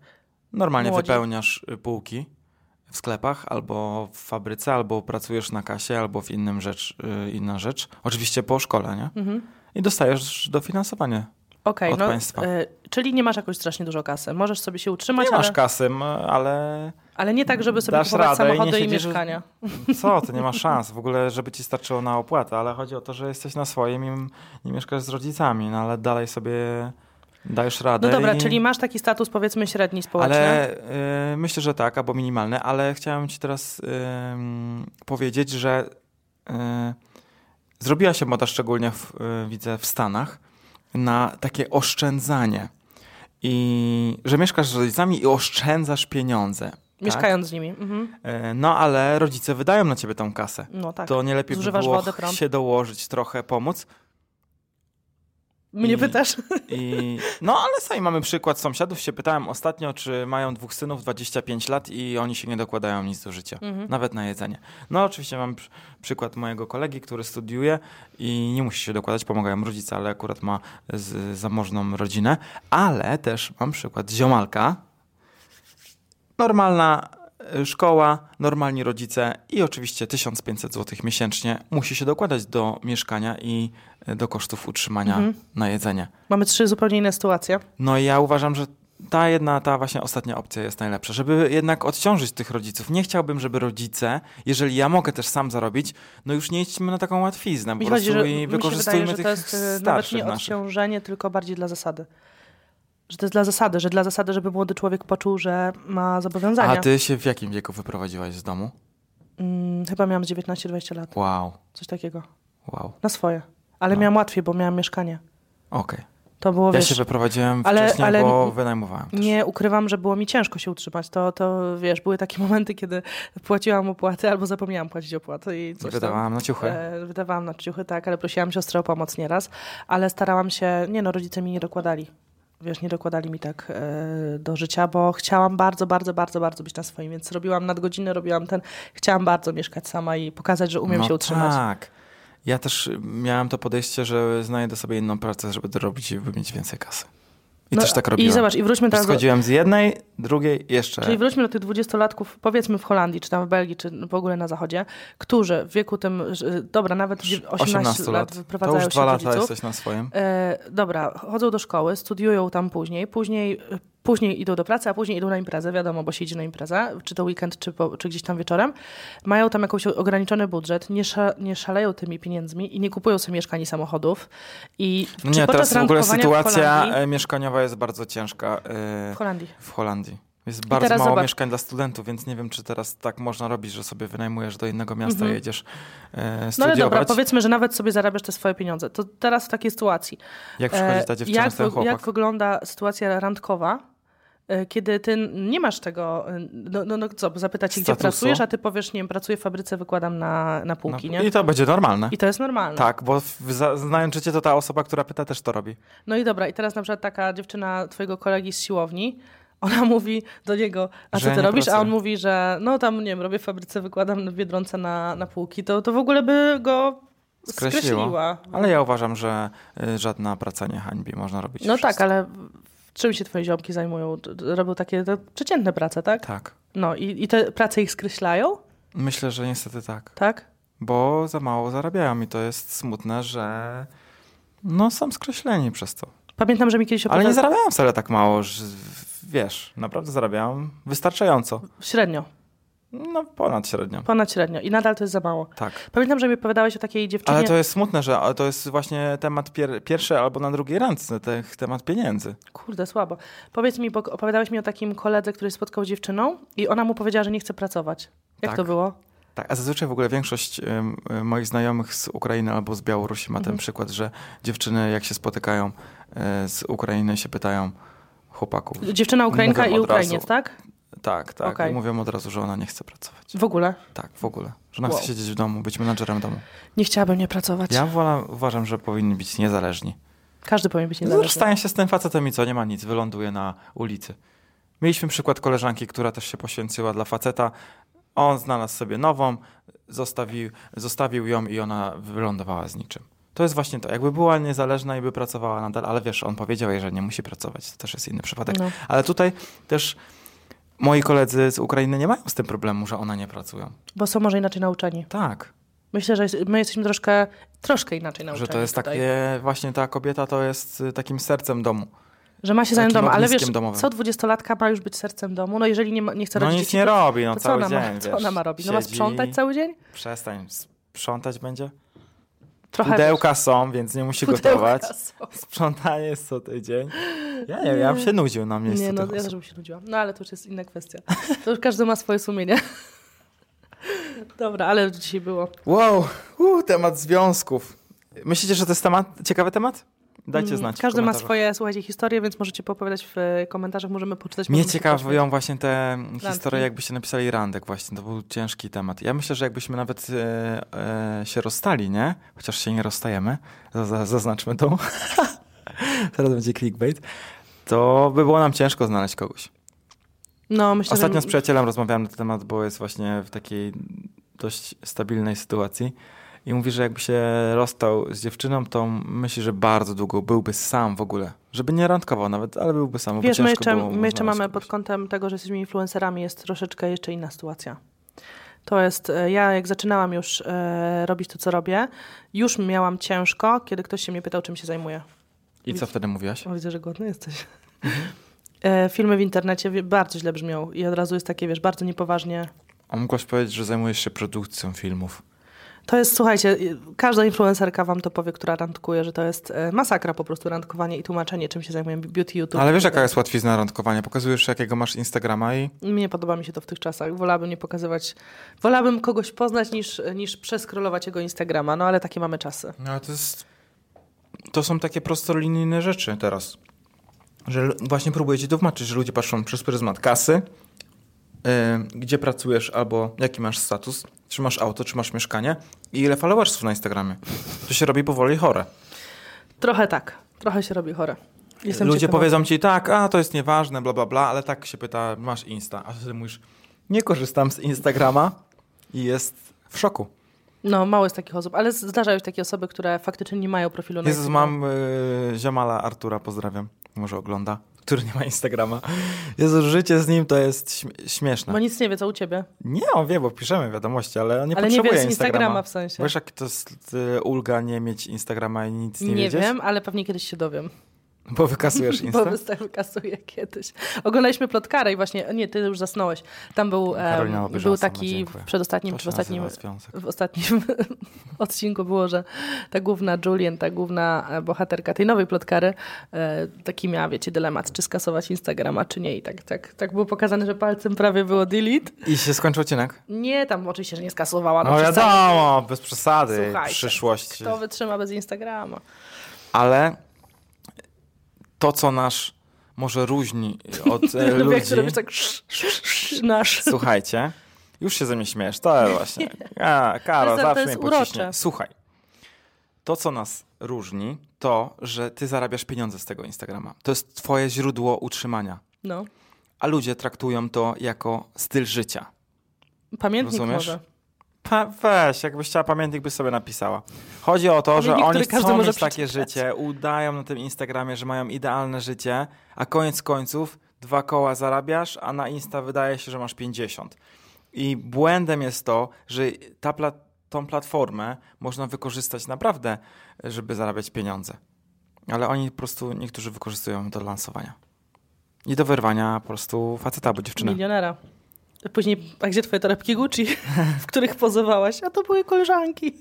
Speaker 2: Normalnie
Speaker 1: Młodzi.
Speaker 2: wypełniasz y, półki w sklepach, albo w fabryce, albo pracujesz na kasie, albo w innym rzecz, y, inna rzecz. Oczywiście po szkole, nie? I dostajesz dofinansowanie.
Speaker 1: Mhm. Okej,
Speaker 2: Od
Speaker 1: no.
Speaker 2: państwa.
Speaker 1: y, czyli nie masz jakoś strasznie dużo kasy. Możesz sobie się utrzymać,
Speaker 2: Nie
Speaker 1: ale,
Speaker 2: masz kasy, m, ale
Speaker 1: ale nie tak, żeby sobie
Speaker 2: Dasz
Speaker 1: kupować
Speaker 2: radę i nie
Speaker 1: samochody i,
Speaker 2: siedzisz-
Speaker 1: mieszkania.
Speaker 2: Co, to nie ma szans w ogóle, żeby ci starczyło na opłatę, ale chodzi o to, że jesteś na swoim i m- nie mieszkasz z rodzicami, no ale dalej sobie dajesz radę.
Speaker 1: No dobra,
Speaker 2: i...
Speaker 1: czyli masz taki status powiedzmy średni społeczny.
Speaker 2: Ale y, myślę, że tak, albo minimalne, ale chciałem ci teraz y, powiedzieć, że y, zrobiła się moda, szczególnie w, y, widzę w Stanach, na takie oszczędzanie. I że mieszkasz z rodzicami i oszczędzasz pieniądze. Tak?
Speaker 1: Mieszkając z nimi. Mhm.
Speaker 2: Y, No ale rodzice wydają na ciebie tą kasę.
Speaker 1: No tak.
Speaker 2: To nie lepiej
Speaker 1: Zużywasz
Speaker 2: by było
Speaker 1: wodę, prąd.
Speaker 2: się dołożyć trochę, pomóc.
Speaker 1: Mnie
Speaker 2: i-
Speaker 1: pytasz?
Speaker 2: I... No ale sami mamy przykład sąsiadów. Się pytałem ostatnio, czy mają dwóch synów, 25 lat i oni się nie dokładają nic do życia. Nawet na jedzenie. No oczywiście mam przy- przykład mojego kolegi, który studiuje i nie musi się dokładać, pomagają rodzice, ale akurat ma z, zamożną rodzinę. Ale też mam przykład ziomalka. Normalna y, szkoła, normalni rodzice i oczywiście 1500 zł miesięcznie musi się dokładać do mieszkania i y, do kosztów utrzymania na jedzenie.
Speaker 1: Mamy trzy zupełnie inne sytuacje.
Speaker 2: No i ja uważam, że ta jedna, ta właśnie ostatnia opcja jest najlepsza, żeby jednak odciążyć tych rodziców. Nie chciałbym, żeby rodzice, jeżeli ja mogę też sam zarobić, no już nie idźmy na taką łatwiznę po
Speaker 1: Mi
Speaker 2: prostu
Speaker 1: chodzi, że,
Speaker 2: i
Speaker 1: mi się
Speaker 2: wykorzystujmy
Speaker 1: wydaje, że
Speaker 2: tych
Speaker 1: to jest e, nawet
Speaker 2: starszych
Speaker 1: nie
Speaker 2: naszych.
Speaker 1: odciążenie, tylko bardziej dla zasady. Że to jest dla zasady, że dla zasady, żeby młody człowiek poczuł, że ma zobowiązania.
Speaker 2: A ty się w jakim wieku wyprowadziłaś z domu?
Speaker 1: Mm, chyba miałam 19-20 lat,
Speaker 2: Wow,
Speaker 1: coś takiego.
Speaker 2: wow,
Speaker 1: Na swoje. Ale miałam łatwiej, bo miałam mieszkanie.
Speaker 2: okej.
Speaker 1: To było,
Speaker 2: No. Ja
Speaker 1: wiesz,
Speaker 2: się wyprowadziłem
Speaker 1: ale-
Speaker 2: wcześniej,
Speaker 1: ale
Speaker 2: bo
Speaker 1: n-
Speaker 2: wynajmowałem też.
Speaker 1: nie ukrywam, że było mi ciężko się utrzymać. To, to wiesz, były takie momenty, kiedy płaciłam opłaty albo zapomniałam płacić opłaty i coś tam.
Speaker 2: Wydawałam na ciuchy.
Speaker 1: E, Wydawałam na ciuchy, tak, ale prosiłam siostrę o pomoc nieraz, ale starałam się, nie no, rodzice mi nie dokładali. Wiesz, nie dokładali mi tak e, do życia, bo chciałam bardzo, bardzo, bardzo, bardzo być na swoim, więc robiłam nadgodziny, robiłam ten, chciałam bardzo mieszkać sama i pokazać, że e, umiem
Speaker 2: no
Speaker 1: się utrzymać.
Speaker 2: tak. Ja też miałem to podejście, że znajdę sobie inną pracę, żeby to robić i by mieć więcej kasy. I
Speaker 1: No,
Speaker 2: też tak robiłem.
Speaker 1: I zobacz, i wróćmy teraz do,
Speaker 2: Schodziłem z jednej, drugiej, jeszcze.
Speaker 1: Czyli wróćmy do tych dwudziestolatków, powiedzmy w Holandii, czy tam w Belgii, czy w ogóle na Zachodzie, którzy w wieku tym, że- dobra, nawet 18,
Speaker 2: 18
Speaker 1: lat
Speaker 2: lat. To
Speaker 1: wyprowadzają
Speaker 2: już dwa
Speaker 1: się
Speaker 2: lata
Speaker 1: rodziców.
Speaker 2: jesteś na swoim.
Speaker 1: E, dobra, chodzą do szkoły, studiują tam później, później, później idą do pracy, a później idą na imprezę, wiadomo, bo się idzie na imprezę, czy to weekend, czy, po, czy gdzieś tam wieczorem. Mają tam jakiś ograniczony budżet, nie, sza, nie szaleją tymi pieniędzmi i nie kupują sobie mieszkań i samochodów. I
Speaker 2: No
Speaker 1: czy
Speaker 2: nie,
Speaker 1: podczas
Speaker 2: teraz w ogóle
Speaker 1: randkowania
Speaker 2: sytuacja
Speaker 1: w Holandii,
Speaker 2: e, mieszkaniowa jest bardzo ciężka e,
Speaker 1: w Holandii.
Speaker 2: w Holandii. Jest bardzo
Speaker 1: teraz
Speaker 2: mało
Speaker 1: zobacz-
Speaker 2: mieszkań dla studentów, więc nie wiem, czy teraz tak można robić, że sobie wynajmujesz do innego miasta i jedziesz e,
Speaker 1: Mhm. No ale
Speaker 2: studiować.
Speaker 1: dobra, powiedzmy, że nawet sobie zarabiasz te swoje pieniądze. To teraz w takiej sytuacji.
Speaker 2: jak przychodzi ta
Speaker 1: E,
Speaker 2: dziewczyna
Speaker 1: jak,
Speaker 2: z ten
Speaker 1: wyg-
Speaker 2: chłopak?
Speaker 1: jak wygląda sytuacja randkowa, e, kiedy ty n- nie masz tego, e, no, no, no co, zapytać cię, gdzie
Speaker 2: Statusu.
Speaker 1: pracujesz, a ty powiesz, nie wiem, pracuję w fabryce, wykładam na, na
Speaker 2: No,
Speaker 1: półki, nie?
Speaker 2: I to będzie normalne.
Speaker 1: I to jest normalne.
Speaker 2: Tak, bo w- za- znając życie, to ta osoba, która pyta, też to robi.
Speaker 1: No i dobra, i teraz na przykład taka dziewczyna twojego kolegi z siłowni, ona mówi do niego, a
Speaker 2: Że
Speaker 1: co
Speaker 2: ja
Speaker 1: ty
Speaker 2: nie
Speaker 1: robisz? A on
Speaker 2: pracuję.
Speaker 1: mówi, że no tam, nie wiem, robię w fabryce, wykładam w Biedronce na, na półki, to, to w ogóle by go
Speaker 2: Skreśliło.
Speaker 1: skreśliła.
Speaker 2: Ale ja uważam, że y, żadna praca nie hańbi, można robić
Speaker 1: No
Speaker 2: wszystko.
Speaker 1: tak, ale czym się twoje ziomki zajmują? Robią takie to przeciętne prace, tak?
Speaker 2: Tak.
Speaker 1: No i, i te prace ich skreślają,
Speaker 2: Myślę, że niestety tak.
Speaker 1: tak?
Speaker 2: bo za mało zarabiają i to jest smutne, że no są skreśleni przez to.
Speaker 1: Pamiętam, że mi kiedyś
Speaker 2: Ale nie
Speaker 1: opowiada-
Speaker 2: zarabiałem wcale tak mało, że wiesz, naprawdę zarabiałam wystarczająco,
Speaker 1: Średnio,
Speaker 2: no ponad średnio.
Speaker 1: ponad średnio i nadal to jest za mało.
Speaker 2: Tak.
Speaker 1: Pamiętam, że mi opowiadałeś o takiej dziewczynie.
Speaker 2: Ale to jest smutne, że a to jest właśnie temat pier- pierwszy albo na drugiej randce, tych, temat pieniędzy.
Speaker 1: Kurde, słabo. Powiedz mi, bo opowiadałeś mi o takim koledze, który spotkał dziewczyną i ona mu powiedziała, że nie chce pracować. Jak
Speaker 2: Tak.
Speaker 1: to było?
Speaker 2: Tak, a zazwyczaj w ogóle większość em, em, moich znajomych z Ukrainy albo z Białorusi ma ten przykład, że dziewczyny jak się spotykają e, z Ukrainy się pytają chłopaków.
Speaker 1: Dziewczyna Ukrainka
Speaker 2: Mówią
Speaker 1: i
Speaker 2: od
Speaker 1: Ukrainiec,
Speaker 2: razu.
Speaker 1: tak?
Speaker 2: Tak, tak.
Speaker 1: Okej.
Speaker 2: I mówią od razu, że ona nie chce pracować.
Speaker 1: W ogóle.
Speaker 2: Tak, w ogóle. Że ona
Speaker 1: Wow.
Speaker 2: chce siedzieć w domu, być menadżerem domu.
Speaker 1: Nie chciałabym nie pracować.
Speaker 2: Ja wola, uważam, że powinni być niezależni.
Speaker 1: Każdy powinien być
Speaker 2: niezależni.
Speaker 1: niezależny.
Speaker 2: Staję się z tym facetem i co, nie ma nic, wyląduje na ulicy. Mieliśmy przykład koleżanki, która też się poświęciła dla faceta. On znalazł sobie nową, zostawił, zostawił ją i ona wylądowała z niczym. To jest właśnie to. Jakby była niezależna i by pracowała nadal, ale wiesz, on powiedział jej, że nie musi pracować. To też jest inny przypadek.
Speaker 1: No.
Speaker 2: Ale tutaj też moi koledzy z Ukrainy nie mają z tym problemu, że ona nie pracują.
Speaker 1: Bo są może inaczej nauczeni.
Speaker 2: Tak.
Speaker 1: Myślę, że jest- my jesteśmy troszkę, troszkę inaczej nauczeni.
Speaker 2: Że to jest
Speaker 1: tutaj.
Speaker 2: takie, właśnie ta kobieta to jest y, takim sercem domu.
Speaker 1: Że ma się zająć
Speaker 2: takim
Speaker 1: domu, ale wiesz,
Speaker 2: ogniskiem domowym.
Speaker 1: co dwudziestolatka ma już być sercem domu? No jeżeli nie, ma, nie chce
Speaker 2: No
Speaker 1: rodzić
Speaker 2: nic
Speaker 1: dzieci,
Speaker 2: nie
Speaker 1: to,
Speaker 2: robi, no
Speaker 1: to co
Speaker 2: cały
Speaker 1: ona,
Speaker 2: dzień.
Speaker 1: ma, co
Speaker 2: wiesz,
Speaker 1: ona ma robić? No ma
Speaker 2: siedzi,
Speaker 1: sprzątać cały dzień?
Speaker 2: Przestań, sprzątać będzie?
Speaker 1: Trochę
Speaker 2: Pudełka są, więc nie musi
Speaker 1: pudełka
Speaker 2: gotować.
Speaker 1: są.
Speaker 2: Sprzątanie jest co tydzień. Ja nie, wiem, ja bym się nudził na miejscu
Speaker 1: Nie, no
Speaker 2: tych
Speaker 1: ja też
Speaker 2: osób.
Speaker 1: bym się nudziła. No ale to już jest inna kwestia. To już każdy ma swoje sumienie. Dobra, ale dzisiaj było.
Speaker 2: Wow, u, temat związków. Myślicie, że to jest temat, ciekawy temat? Dajcie
Speaker 1: Mm,
Speaker 2: znać w
Speaker 1: Każdy ma
Speaker 2: komentarzach.
Speaker 1: swoje, słuchajcie, historie, więc możecie popowiadać w e, komentarzach, możemy poczytać.
Speaker 2: Mnie
Speaker 1: możemy poczytać.
Speaker 2: ciekawią właśnie te historie,
Speaker 1: Randki.
Speaker 2: jakbyście napisali randek właśnie, to był ciężki temat. Ja myślę, że jakbyśmy nawet e, e, się rozstali, nie? Chociaż się nie rozstajemy, za- za- zaznaczmy to. Teraz będzie clickbait. To by było nam ciężko znaleźć kogoś.
Speaker 1: No, myślę,
Speaker 2: Ostatnio z
Speaker 1: że...
Speaker 2: przyjacielem rozmawiałem na ten temat, bo jest właśnie w takiej dość stabilnej sytuacji. I mówi, że jakby się rozstał z dziewczyną, to myśli, że bardzo długo byłby sam w ogóle. Żeby nie randkował nawet, ale byłby sam. bo
Speaker 1: Wiesz, my
Speaker 2: No ciężko
Speaker 1: jeszcze,
Speaker 2: było mu
Speaker 1: my jeszcze
Speaker 2: znaleźć
Speaker 1: mamy
Speaker 2: kogoś.
Speaker 1: pod kątem tego, że jesteśmy influencerami, jest troszeczkę jeszcze inna sytuacja. To jest, e, ja jak zaczynałam już e, robić to, co robię, już miałam ciężko, kiedy ktoś się mnie pytał, czym się zajmuję.
Speaker 2: I co wtedy mówiłaś?
Speaker 1: O, widzę, że głodny jesteś.
Speaker 2: Mhm.
Speaker 1: E, filmy w internecie wie- bardzo źle brzmią i od razu jest takie, wiesz, bardzo niepoważnie.
Speaker 2: A mogłaś powiedzieć, że zajmujesz się produkcją filmów.
Speaker 1: To jest, słuchajcie, y, każda influencerka wam to powie, która randkuje, że to jest e, masakra po prostu randkowanie i tłumaczenie, czym się zajmuję, beauty e, YouTube.
Speaker 2: Ale wiesz, jaka jest łatwizna randkowania? Pokazujesz, jakiego masz Instagrama i...
Speaker 1: Nie podoba mi się to w tych czasach. Wolałabym nie pokazywać, wolałabym kogoś poznać niż, niż przeskrolować jego Instagrama, no ale takie mamy czasy.
Speaker 2: No, ale to jest... to są takie prostolinijne rzeczy teraz. Że l- właśnie próbuję ci tłumaczyć, że ludzie patrzą przez pryzmat kasy, yy, gdzie pracujesz albo jaki masz status, czy masz auto, czy masz mieszkanie i ile followersów na Instagramie. To się robi powoli chore.
Speaker 1: Trochę tak, trochę się robi chore. Jestem
Speaker 2: Ludzie
Speaker 1: ciekawa.
Speaker 2: powiedzą ci tak, a to jest nieważne, bla bla bla, ale tak się pyta, masz Insta, a ty mówisz, nie korzystam z Instagrama i jest w szoku.
Speaker 1: No, mało jest takich osób, ale z- zdarzają się takie osoby, które faktycznie nie mają profilu na
Speaker 2: Jezus,
Speaker 1: Instagramie.
Speaker 2: mam y, ziomala Artura, pozdrawiam, może ogląda, który nie ma Instagrama. Jezu, życie z nim to jest śm- śmieszne.
Speaker 1: Bo nic No nie wie, co u ciebie.
Speaker 2: Nie, on wie, bo piszemy wiadomości, ale on nie
Speaker 1: Ale nie
Speaker 2: potrzebuje
Speaker 1: wie z
Speaker 2: Instagrama.
Speaker 1: Instagrama w sensie.
Speaker 2: Wiesz, jak to jest y, ulga nie mieć Instagrama i nic nie,
Speaker 1: Nie,
Speaker 2: wiedzieć?
Speaker 1: wiem, ale pewnie kiedyś się dowiem.
Speaker 2: Bo wykasujesz Insta?
Speaker 1: Bo wystawy kasuje kiedyś. Oglądaliśmy plotkarę i właśnie, nie, ty już zasnąłeś. Tam był, em,
Speaker 2: Karolina Łobyża,
Speaker 1: był
Speaker 2: sama,
Speaker 1: taki
Speaker 2: dziękuję.
Speaker 1: w przedostatnim,
Speaker 2: To
Speaker 1: czy w
Speaker 2: się
Speaker 1: ostatnim,
Speaker 2: nazywa związek.
Speaker 1: w ostatnim odcinku było, że ta główna Julian, ta główna e, bohaterka tej nowej plotkary, e, taki miała, wiecie, dylemat, czy skasować Instagrama, czy nie. I tak, tak, tak było pokazane, że palcem prawie było delete.
Speaker 2: I się skończył odcinek?
Speaker 1: Nie, tam oczywiście, że nie skasowała.
Speaker 2: No
Speaker 1: przestań-
Speaker 2: wiadomo, bez przesady,
Speaker 1: Słuchajcie,
Speaker 2: przyszłość.
Speaker 1: Kto wytrzyma bez Instagrama?
Speaker 2: Ale to, co nas może różni od e,
Speaker 1: Lubię, jak
Speaker 2: ludzi,
Speaker 1: ty robisz tak sz, sz, sz, nasz.
Speaker 2: słuchajcie, już się ze mnie śmiesz, to właśnie, a,
Speaker 1: To
Speaker 2: Karo,
Speaker 1: jest- to
Speaker 2: zawsze
Speaker 1: jest
Speaker 2: mnie pociśnie.
Speaker 1: urocze.
Speaker 2: Słuchaj, to, co nas różni, to, że ty zarabiasz pieniądze z tego Instagrama. To jest twoje źródło utrzymania,
Speaker 1: No.
Speaker 2: a ludzie traktują to jako styl życia.
Speaker 1: Pamiętnik
Speaker 2: Rozumiesz?
Speaker 1: może.
Speaker 2: Pa, weź, jakbyś chciała pamiętnik, by sobie napisała. Chodzi o to, że
Speaker 1: Pamiętnik,
Speaker 2: oni
Speaker 1: który każdy
Speaker 2: chcą
Speaker 1: może
Speaker 2: mieć takie
Speaker 1: przeczytać.
Speaker 2: życie, udają na tym Instagramie, że mają idealne życie, a koniec końców dwa koła zarabiasz, a na Insta wydaje się, że masz 50. I błędem jest to, że ta pla- tą platformę można wykorzystać naprawdę, żeby zarabiać pieniądze. Ale oni po prostu, niektórzy wykorzystują ją do lansowania. I do wyrwania po prostu faceta albo dziewczyny.
Speaker 1: Milionera. Później, a gdzie twoje torebki Gucci, w których pozowałaś? A to były koleżanki.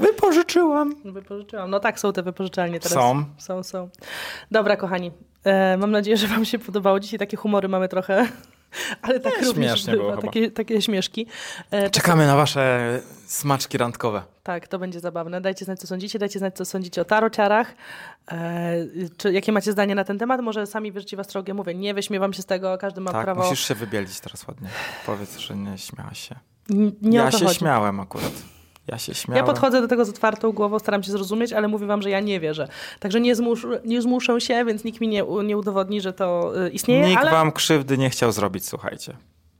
Speaker 2: Wypożyczyłam.
Speaker 1: Wypożyczyłam. No tak, są te wypożyczalnie teraz.
Speaker 2: Są.
Speaker 1: Są, są. Dobra, kochani. E, mam nadzieję, że wam się podobało. Dzisiaj takie humory mamy trochę, ale tak
Speaker 2: Nie,
Speaker 1: również
Speaker 2: śmiesznie
Speaker 1: bywa.
Speaker 2: było chyba.
Speaker 1: Takie, takie śmieszki. E,
Speaker 2: Czekamy na wasze smaczki randkowe.
Speaker 1: tak, to będzie zabawne. Dajcie znać, co sądzicie. Dajcie znać, co sądzicie o tarociarach. E, czy, jakie macie zdanie na ten temat? Może sami wyrzuci was drogę. Mówię, nie wyśmiewam się z tego. Każdy ma
Speaker 2: tak,
Speaker 1: prawo...
Speaker 2: musisz się wybielić teraz ładnie. Powiedz, że nie śmiałaś się.
Speaker 1: N- Nie o
Speaker 2: ja
Speaker 1: to
Speaker 2: się
Speaker 1: chodzi.
Speaker 2: śmiałem akurat. Ja się
Speaker 1: Ja
Speaker 2: śmiałem.
Speaker 1: podchodzę do tego z otwartą głową, staram się zrozumieć, ale mówię wam, że ja nie wierzę. Także nie, zmusz, nie zmuszę się, więc nikt mi nie, u- nie udowodni, że to y, istnieje,
Speaker 2: Nikt
Speaker 1: ale
Speaker 2: wam krzywdy nie chciał zrobić, słuchajcie.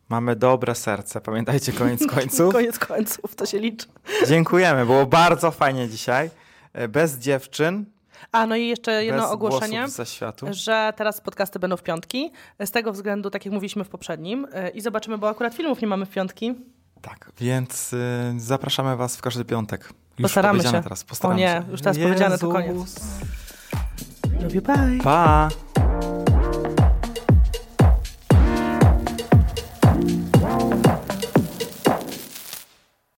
Speaker 2: Mamy dobre serce, pamiętajcie koniec końców.
Speaker 1: koniec końców to się liczy.
Speaker 2: Dziękujemy, było bardzo fajnie dzisiaj. E, Bez dziewczyn,
Speaker 1: A no i jeszcze jedno
Speaker 2: bez
Speaker 1: ogłoszenie.
Speaker 2: głosów ze światu.
Speaker 1: Że teraz podcasty będą w piątki. Z tego względu, tak jak mówiliśmy w poprzednim, y, i zobaczymy, bo akurat filmów nie mamy w piątki.
Speaker 2: Tak, więc y, zapraszamy was w każdy piątek. Już
Speaker 1: Postaramy
Speaker 2: powiedziane
Speaker 1: się.
Speaker 2: teraz, postaram
Speaker 1: O nie,
Speaker 2: się.
Speaker 1: już teraz powiedziane, to
Speaker 2: Jezus.
Speaker 1: koniec. Love you, bye.
Speaker 2: Pa!